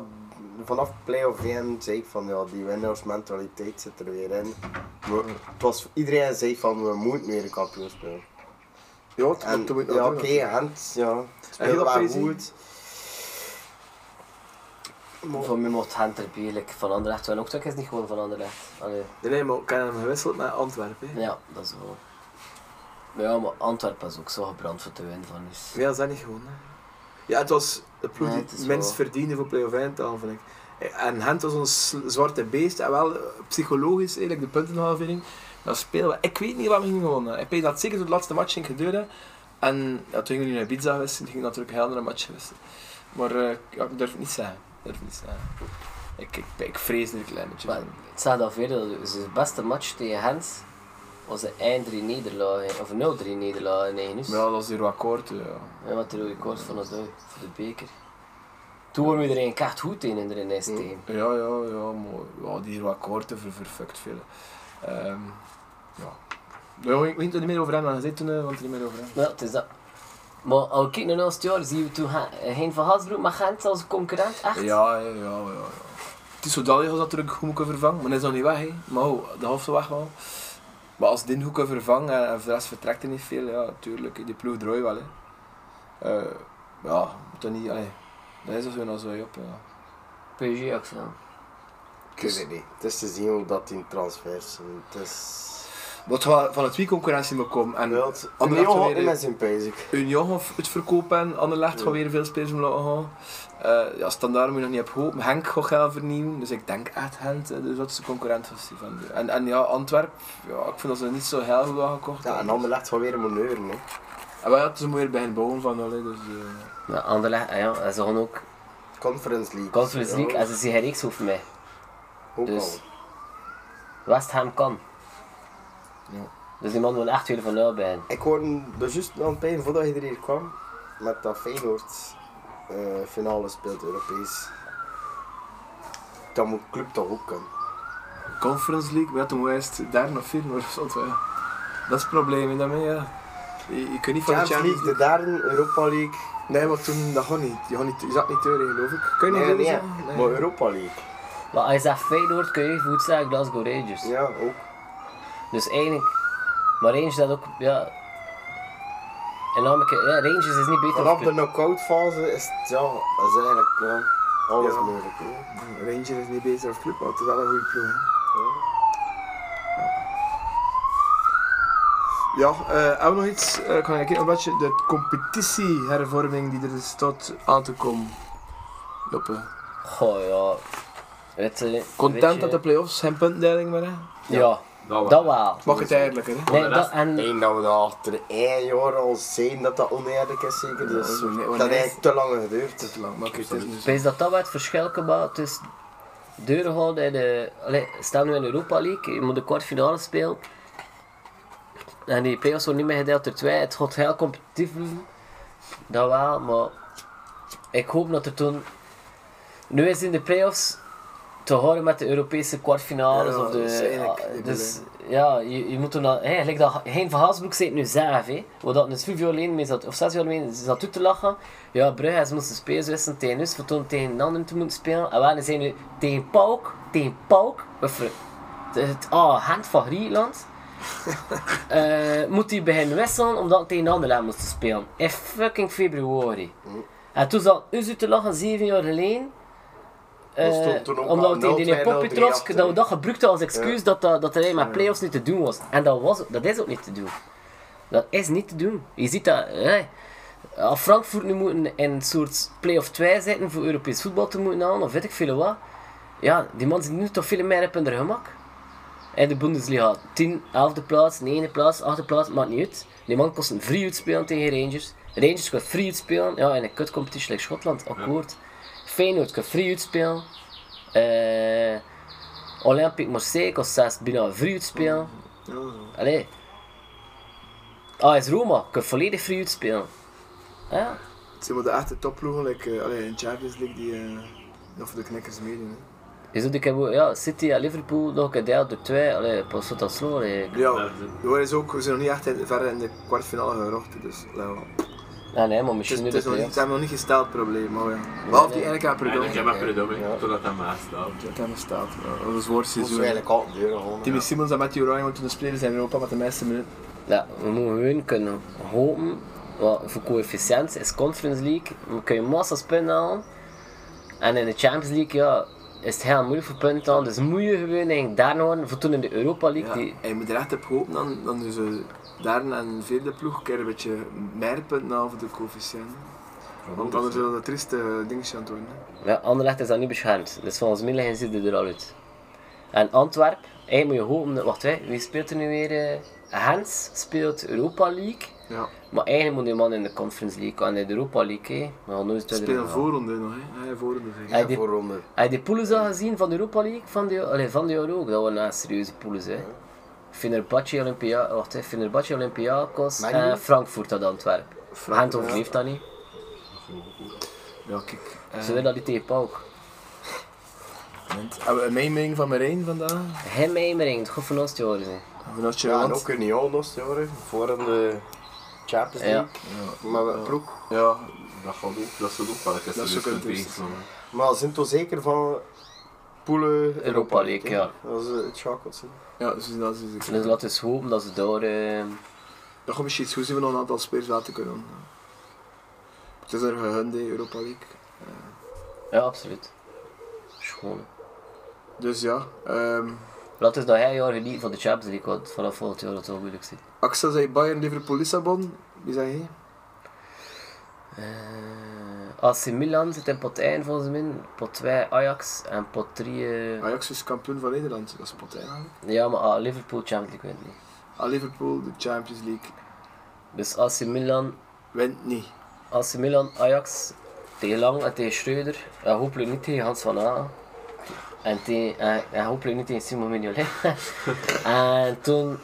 vanaf play-off 1 zei ik van ja, die winnaarsmentaliteit zit er weer in. Maar het was, iedereen zei van we moeten weer een kampioen spelen.
Ja, dat-
En
dat moet je
ja,
nog
oké,
doen.
Gent, ja,
heel
speelde wel
crazy.
goed.
Van mij mocht Henter Bielik van Anderlecht winnen. Ook dat is niet gewoon van Anderlecht. Allee,
Nee, nee, maar ik heb hem gewisseld met Antwerpen. hè.
ja, dat is wel. Maar ja, maar Antwerpen is ook zo gebrand voor te winnen van is.
Ja, dat is niet gewoon. Hè. Ja, het was de ploeg
Nee,
die
het is
het minst
wel-
verdiende voor play-off eind aan, vind ik. En Gent was ons sl- zwarte beest en wel eh, psychologisch eigenlijk de puntenhalvering. Dat spelen we. Ik weet niet wat we gingen gewonnen. Ik weet dat het zeker door de laatste match ging gebeuren. En ja, toen gingen we naar Ibiza geweest, toen ging natuurlijk een heel andere match geweest. Maar eh, ja, ik durf het niet zeggen. Ik durf het niet zeggen. Ik, ik, ik vrees er een klein beetje
Maar
van.
het staat al verder, dat zijn beste match tegen Hens was de eind 3 nederlagen, of 0-3 nederlagen in Egenus.
Maar ja, dat was hier wat akkoord. eh, Ja.
Ja, wat de rode koord van Odoi, voor de beker. Toen waren we er een kaart goed in in de Rennes team.
Ja, ja, ja, maar ja, die akkoorden ver verfukt veel. Ehm ja. Ja, ik weet het niet meer over hem aan gezet toen, eh, want er niet meer over hem.
Ja, het is dat. Maar als we kijken naar ons jaar, zien we toen Gen- eh, geen van Hasbroek, maar Gent als concurrent, echt?
Ja, ja, ja, ja. ja. Het is zo dat was natuurlijk goed moeten vervangen, maar hij is nog niet weg, hè. Maar oh, de helft is weg wel. Maar als dit hoeken vervangt en, en voor de rest vertrekt er niet veel, ja, tuurlijk, hè, die ploeg draait wel, hè. Eh, ja, moet dat niet, allee. Dat is er zo en zo op, ja.
PSG ook zo.
Ik weet het niet. Het is te zien hoe dat in transfers. en Het is...
Wat we van het wie concurrentie moet komen en
Wel, het-
Anderlecht
Union
wil
had niet
weer-
met zijn prijs. ik.
Union of het verkopen en Anderlecht gaan
Ja.
weer veel spelers om laten gaan. Eh, ja, standaard moet je nog niet op hopen. Henk gaat geld vernieuwen, dus ik denk echt Henk, eh, dus dat is de concurrent van Stefan. Deur. En, en ja, Antwerp, ja, ik vind dat ze niet zo heel goed aangekocht
Ja, en
hebben.
Anderlecht gaat weer een manoeuvre. hè.
En maar ja, ze moeten weer bij hen bouwen van allee, dus... eh,
Maar Anderlecht, ah ja, en ze gaan ook
Conference League.
Conference League
Ja,
en ze zien geen reeks over mij.
ook
dus-
al.
West Ham kan.
Ja.
Dus die man wil echt weer van nul bij.
Ik hoorde er juist aan het pijn voordat je er hier kwam. Met dat Feyenoord eh, finale speelt Europees. Dat moet club toch ook kunnen.
Conference League, we hadden eerst derde of vierde, maar dat ja. Dat is het probleem hè, daarmee, ja. Je, je kunt niet van de
Champions League, de derde, Europa League.
Nee, maar toen, dat gaat niet. Je, gaat niet, je zat niet deur, geloof ik. Kun je niet veel
Nee, nee,
zeggen?
maar Europa League.
Maar als je zegt Feyenoord, kun je even goed zeggen Glasgow Rangers.
Ja, ook.
Dus eigenlijk, maar Rangers dat ook, ja, En namelijk, ja, Rangers is niet beter.
Vanaf
dan
de knock-out fase is het ja, dat is eigenlijk ja, alles
Ja.
mogelijk. Hoor.
Ranger is niet bezig of club, maar het is wel een goede ploeg. hè. Ja, eh hebben we nog iets? Eh, kan ik een beetje de competitiehervorming die er is tot aan te komen lopen.
Goh, ja. Het, eh, weet
Content
je-
dat de play-offs geen puntendeling meer hè?
Ja,
Dat
dat
wel.
wel.
Mag het eigenlijk hè?
Nee,
de
dat,
rest-
en
Eén dat we dat achter één jaar al zien dat dat oneerlijk is zeker,
dat is
dus
zo niet-
dat
wanneer
heeft
is-
eigenlijk te lang geduurd.
Te lang, maar oké, het is nu
Ik
zo.
Wees dat dat wat het verschil kan maken tussen deuren houden en de. Allee, stel nu in de Europa League, je moet de kwartfinale spelen. En die play-offs worden niet meer gedeeld door twee. Het gaat heel competitief blijven. Dat wel, maar ik hoop dat er toen. Nu is in de play-offs te horen met de Europese kwartfinales
Ja,
of de.
dat is eigenlijk
ah,
de
dus ja, je, je moet toen al. Hey, gelijk dat Hein van Haasbroek zit nu zelf, hè? Wat dat dus vijf jaar geleden mee zat, of zes jaar geleden zat toe te lachen. Ja, Brugge ze moesten spelers wisselen tegen ons, voor toen tegen een ander te moeten spelen. En wij zijn nu tegen Pauk, tegen Pauk, of eh, het ah, hand van Griekenland. Eh, moet hij beginnen wisselen omdat hij tegen een ander land moest spelen. In fucking februari.
Hm.
En toen zat Uzu te lachen, zeven jaar geleden. Eh,
Dat stond toen ook
omdat
al
we tegen die
0-2, 0-3
Popitrosk,
achter,
dat we
hè.
dat gebruikten als excuus dat, dat, dat er met playoffs niet te doen was. En dat, was, dat is ook niet te doen. Dat is niet te doen. Je ziet dat. hè. Als Frankfurt nu moet in een soort play-off 2 zitten voor Europees voetbal te moeten halen, of weet ik veel wat. Ja, die man zit nu toch veel meer op hun gemak. In de Bundesliga. 10, 11e plaats, 9e plaats, 8e plaats, maakt niet uit. Die man kost een free uit spelen tegen Rangers. Rangers kan free uit spelen. Ja, in een kutcompetitie like Schotland, akkoord. Feyenoord kan free uit spelen. Eh, Olympique Marseille kost zelfs bijna free uit spelen. Allee. AS Roma kan volledig free uit spelen. Ja.
Het zijn wel de echte topploegen, like, eh, allee, in Champions League die eh, nog voor de knikkers meedoen. hè.
Is dat ik heb ook- ja, City en Liverpool nog een deel door twee, allee, pas tot dat sloor. allee.
Ja, we is ook, we zijn nog niet echt in, verder in de kwartfinale gerocht, dus allee, wel.
Ah nee, maar
Dus
misschien nu
het
de
is nog niet,
play-offs.
ze hebben nog niet gesteld probleem, maar ja. Behalve die eigenlijk aan
En ik heb
Predom.
maar verdomme, totdat dat maas staat.
Dat hebben staat, ja. dat was een zwaar
Dat moesten
seizoen.
we eigenlijk al deuren gewoon.
Timmy Simmons en Matthew Ryan moeten spelen zijn in Europa met de meeste minuten.
Ja, we moeten gewoon kunnen hopen. Wat voor coëfficiënt is Conference League. We kunnen massa's punten halen. En in de Champions League ja, is het heel moeilijk voor punten te halen. Dus moet je gewoon eigenlijk daar nog een- voor toen in de Europa League.
Ja,
Die,
en je moet er echt op hopen, dan, dan doen ze daarna een vierde ploeg keer een beetje meer punten aan voor de coëfficiënt. Want anders zullen dat trieste dingetje aan het worden. hè.
ja, Anderlecht is dat niet beschermd. Dus volgens mij liggen ze er al uit. En Antwerp, eigenlijk moet je hopen. dat- Wacht, hè, wie speelt er nu weer? eh? Hans speelt Europa League.
Ja,
Maar eigenlijk moet die man in de Conference League en in de Europa League. Hè. Maar nooit
ze
tweede
spelen
gaan.
voorronde nog, hè. Ja, voorronde zeg.
Hij die-
voor eh, ronde.
Heb je die pools al gezien van de Europa League? Van de, allee, van de Euro ook? Dat waren nou serieuze pools, hè. Fenerbahce, Olympia, wacht, hè. Fenerbahce, Olympiakos
Maar
en
niet-
Frankfurt uit Antwerpen. Gent overleeft dat niet.
Ja, kijk.
Ze willen dat die tegen Pauk.
Hebben we Ah, een mening van Marijn vandaag?
Geen mijmering, het gaat van ons te horen zijn.
Vanuit je
Ja, en
land?
ook in Jonas, jaren, voor in de Champions
Ja.
League. Maar we ploeg.
Ja,
Dat gaat ook, dat zou ook wel een keer
Dat is
serieus
ook een
kunnen
triest.
tegenkomen.
Maar we zijn toch zeker van Poelen
Europa League,
hè?
ja.
Dat is eh, het schakelt. hè.
ja dus dat is
Dus laten we eens hopen dat ze daar... eh,
Dat gaat misschien iets goed zijn om nog een aantal spelers laten kunnen. doen, ja. Het is er gegund, hè, Europa League.
ja, absoluut. Schoon.
Dus ja, ehm
Laten we dat hij jaar genieten van de Champions League, want vanaf volgend jaar dat het wel moeilijk zit.
Axel zei Bayern, Liverpool, Lissabon. Wie zei hij?
Eh, AC Milan zit in pot 1 volgens mij, pot 2 Ajax en pot 3... eh,
Ajax is kampioen van Nederland, dat is pot eigenlijk.
Ja, maar ah, Liverpool Champions League wint niet.
Ah, Liverpool, de Champions League,
Dus AC Milan,
wint niet.
AC Milan, Ajax, tegen Lang en tegen Schreuder. En hopelijk niet tegen Hans van Aan. En, tegen, en, en hopelijk niet tegen Simon Mignolet. en toen...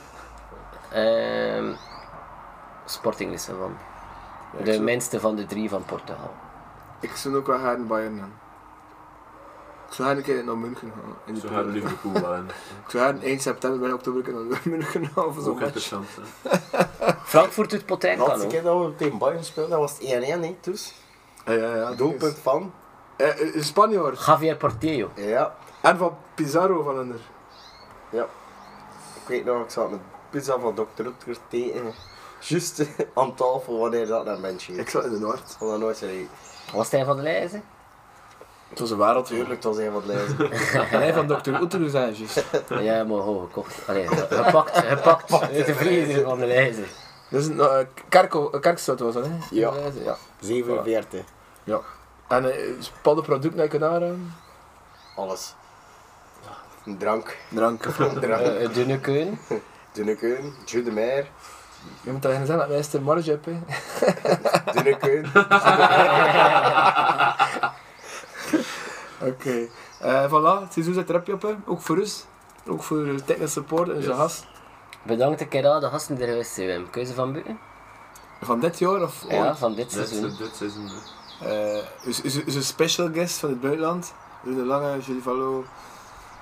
ehm, Sporting Lissabon. De
zou-
minste van de drie van Portugal.
Ik zou ook wel graag naar Bayern gaan. Ik zou graag een keer naar München gaan. In de
Zo gaat
periode.
Liverpool wel in.
ik zou graag 1 september, begin oktober een keer naar München gaan voor zo'n
Ook
match.
interessant. hè.
Frankfurt doet pot
De
één kan
laatste
ook.
keer dat we tegen Bayern speelden, dat was het 1-1, hè, dus.
Ja, ja, ja.
Doelpunt van,
Eh, eh, een Spanjaard.
Javier Portillo.
ja.
En van Pizarro van onder.
Ja. Ik weet nog, ik zat met pizza van Dr. Rutger tegen. Juist eh, aan tafel wanneer dat naar mensen
Ik
ging.
zat in de Noord.
Ik had dat nooit gezien.
Was Stijn van der Leijzen?
Het was een wereld, tuurlijk.
Tuurlijk, dat was een van de lijsten.
En hij van Dr. Oeter zijn, juist.
Ja, maar gewoon gekocht. Allee, gepakt, gepakt. uit de vriezer van de Leijzen.
Dat is een eh, kerkel- eh, kerkzout was dat, hè?
Ja.
ja.
47.
En eh, is het paddenproduct dat je daar... eh,
Alles. Een drank.
Drank.
Drank.
Eh, eh, dunne keun.
Dunne keun. Jules de Meijer.
Je moet tegen zeggen dat wij een marge hebben, hè.
Dunne keun.
Oké. Eh voilà, het seizoen zit erop, Joppe. Ook voor ons. Ook voor de technisch support en onze
Yes.
gast.
Bedankt een keer aan de gasten die er geweest zijn, Wim. Keuze van Buten?
Van dit jaar of ooit.
Ja, van dit
Dit
seizoen.
se- dit seizoen. hè.
Eh, is, is, is een special guest van het buitenland. Rune Lange, Julie Vallo,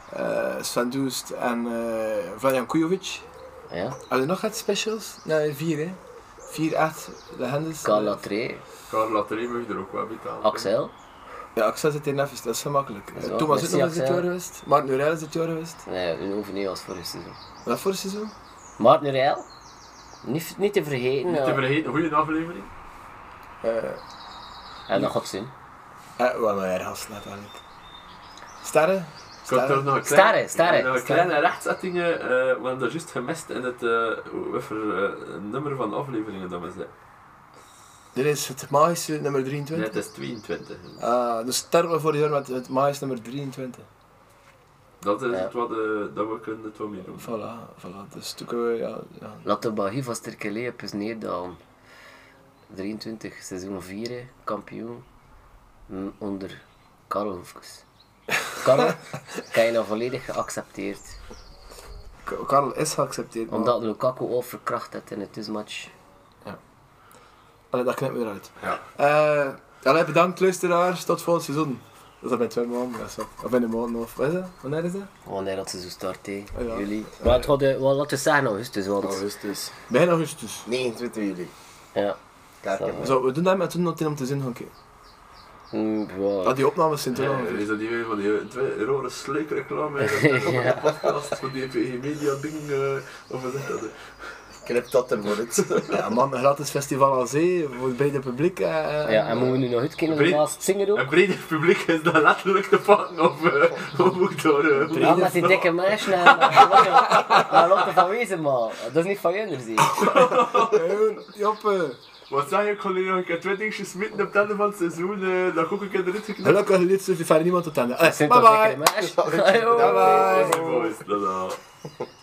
eh, Sven Doest en eh Vladan Kujovic.
Ja,
Hebben we nog wat specials? Nee, vier hè. Vier echt legendes.
Carla Tree,
Karel Latterie mag je er ook wel betalen.
Axel.
Ja, Axel zit hier even, dat is gemakkelijk.
Zo,
Thomas zit
merci,
nog eens dit
Axel.
jaar geweest. Maarten Nurel is dit jaar geweest.
Nee, Eh, we hoeven niet als vorig seizoen.
Wat voor seizoen?
Maarten Rijl. Niet, niet te vergeten.
Niet
ja.
te vergeten, goede aflevering.
Eh,
En dat gaat zien.
Eh, wat een ergast natuurlijk. Sterren?
Ik had
Sterren?
er nog een
Sterren,
klein-
sterren,
nog een
sterren.
kleine rechtzetting, eh, we hebben dat juist gemist in het eh, wat voor, eh, nummer van afleveringen dat we zijn.
Dit is het maïsje nummer
Nee,
23.
het is 22.
Ah, dus starten we voor dit jaar met het maïs nummer 23.
Dat is
Ja.
het wat eh, dat we kunnen het wat mee doen.
Voilà, voilà. Dus toen kunnen we, ja, ja.
Laat de Bagie van Sterkelee op eens neerdalen. 23, seizoen 4, hè, kampioen. Mm, Onder Karel Hoefkes. Karel, kan je nou volledig geaccepteerd.
K- Karel is geaccepteerd, maar...
Omdat Lukaku al verkracht had in het tussenmatch.
Allee, dat knipt me eruit.
Ja.
Eh, allee, bedankt luisteraars, tot volgend seizoen. Dat is bij twee maanden, ja, zo. Of in een maand, of... Wat is dat? Wanneer is dat?
Wanneer dat ze zo start, hè,
Ah, ja.
jullie. Maar het gaat, eh, wel, laten we zeggen augustus, want...
Augustus.
Begin augustus.
29 juli.
Ja.
Kerken.
Zo, we doen dat met toen nog om te zien gaan kijken.
Mm, ja.
Ah, die opnames zijn toen al.
Eh, Is dat niet weer van die eh, twee rode sluikreclame? Ja. Podcast van die PG Media ding. eh, of wat is dat? eh?
Knip dat er maar uit.
Ja man, een gratis festival aan zee, voor bij de publiek. eh, eh,
ja, en moeten we nu nog uitkijken of de
Breed-
laatste zinger ook?
Een breder publiek is dan letterlijk te pakken of eh, of moet door. eh,
Ja, met die dikke meisje naar naar Lotte van Wezen, man. Dat is niet van jullie, zie ik.
Gewoon, Joppe.
Wat zei je, ik kon hier nog een keer twee dingetjes smitten op het einde van het seizoen, eh, dat ik ook een keer eruit geknipt.
Gelukkig liet ze verder niemand tot aan de.
Dat
Allee,
zijn
Bye
toch dikke
bye.
meisjes? Ajoe.
Hey, boys, dat al.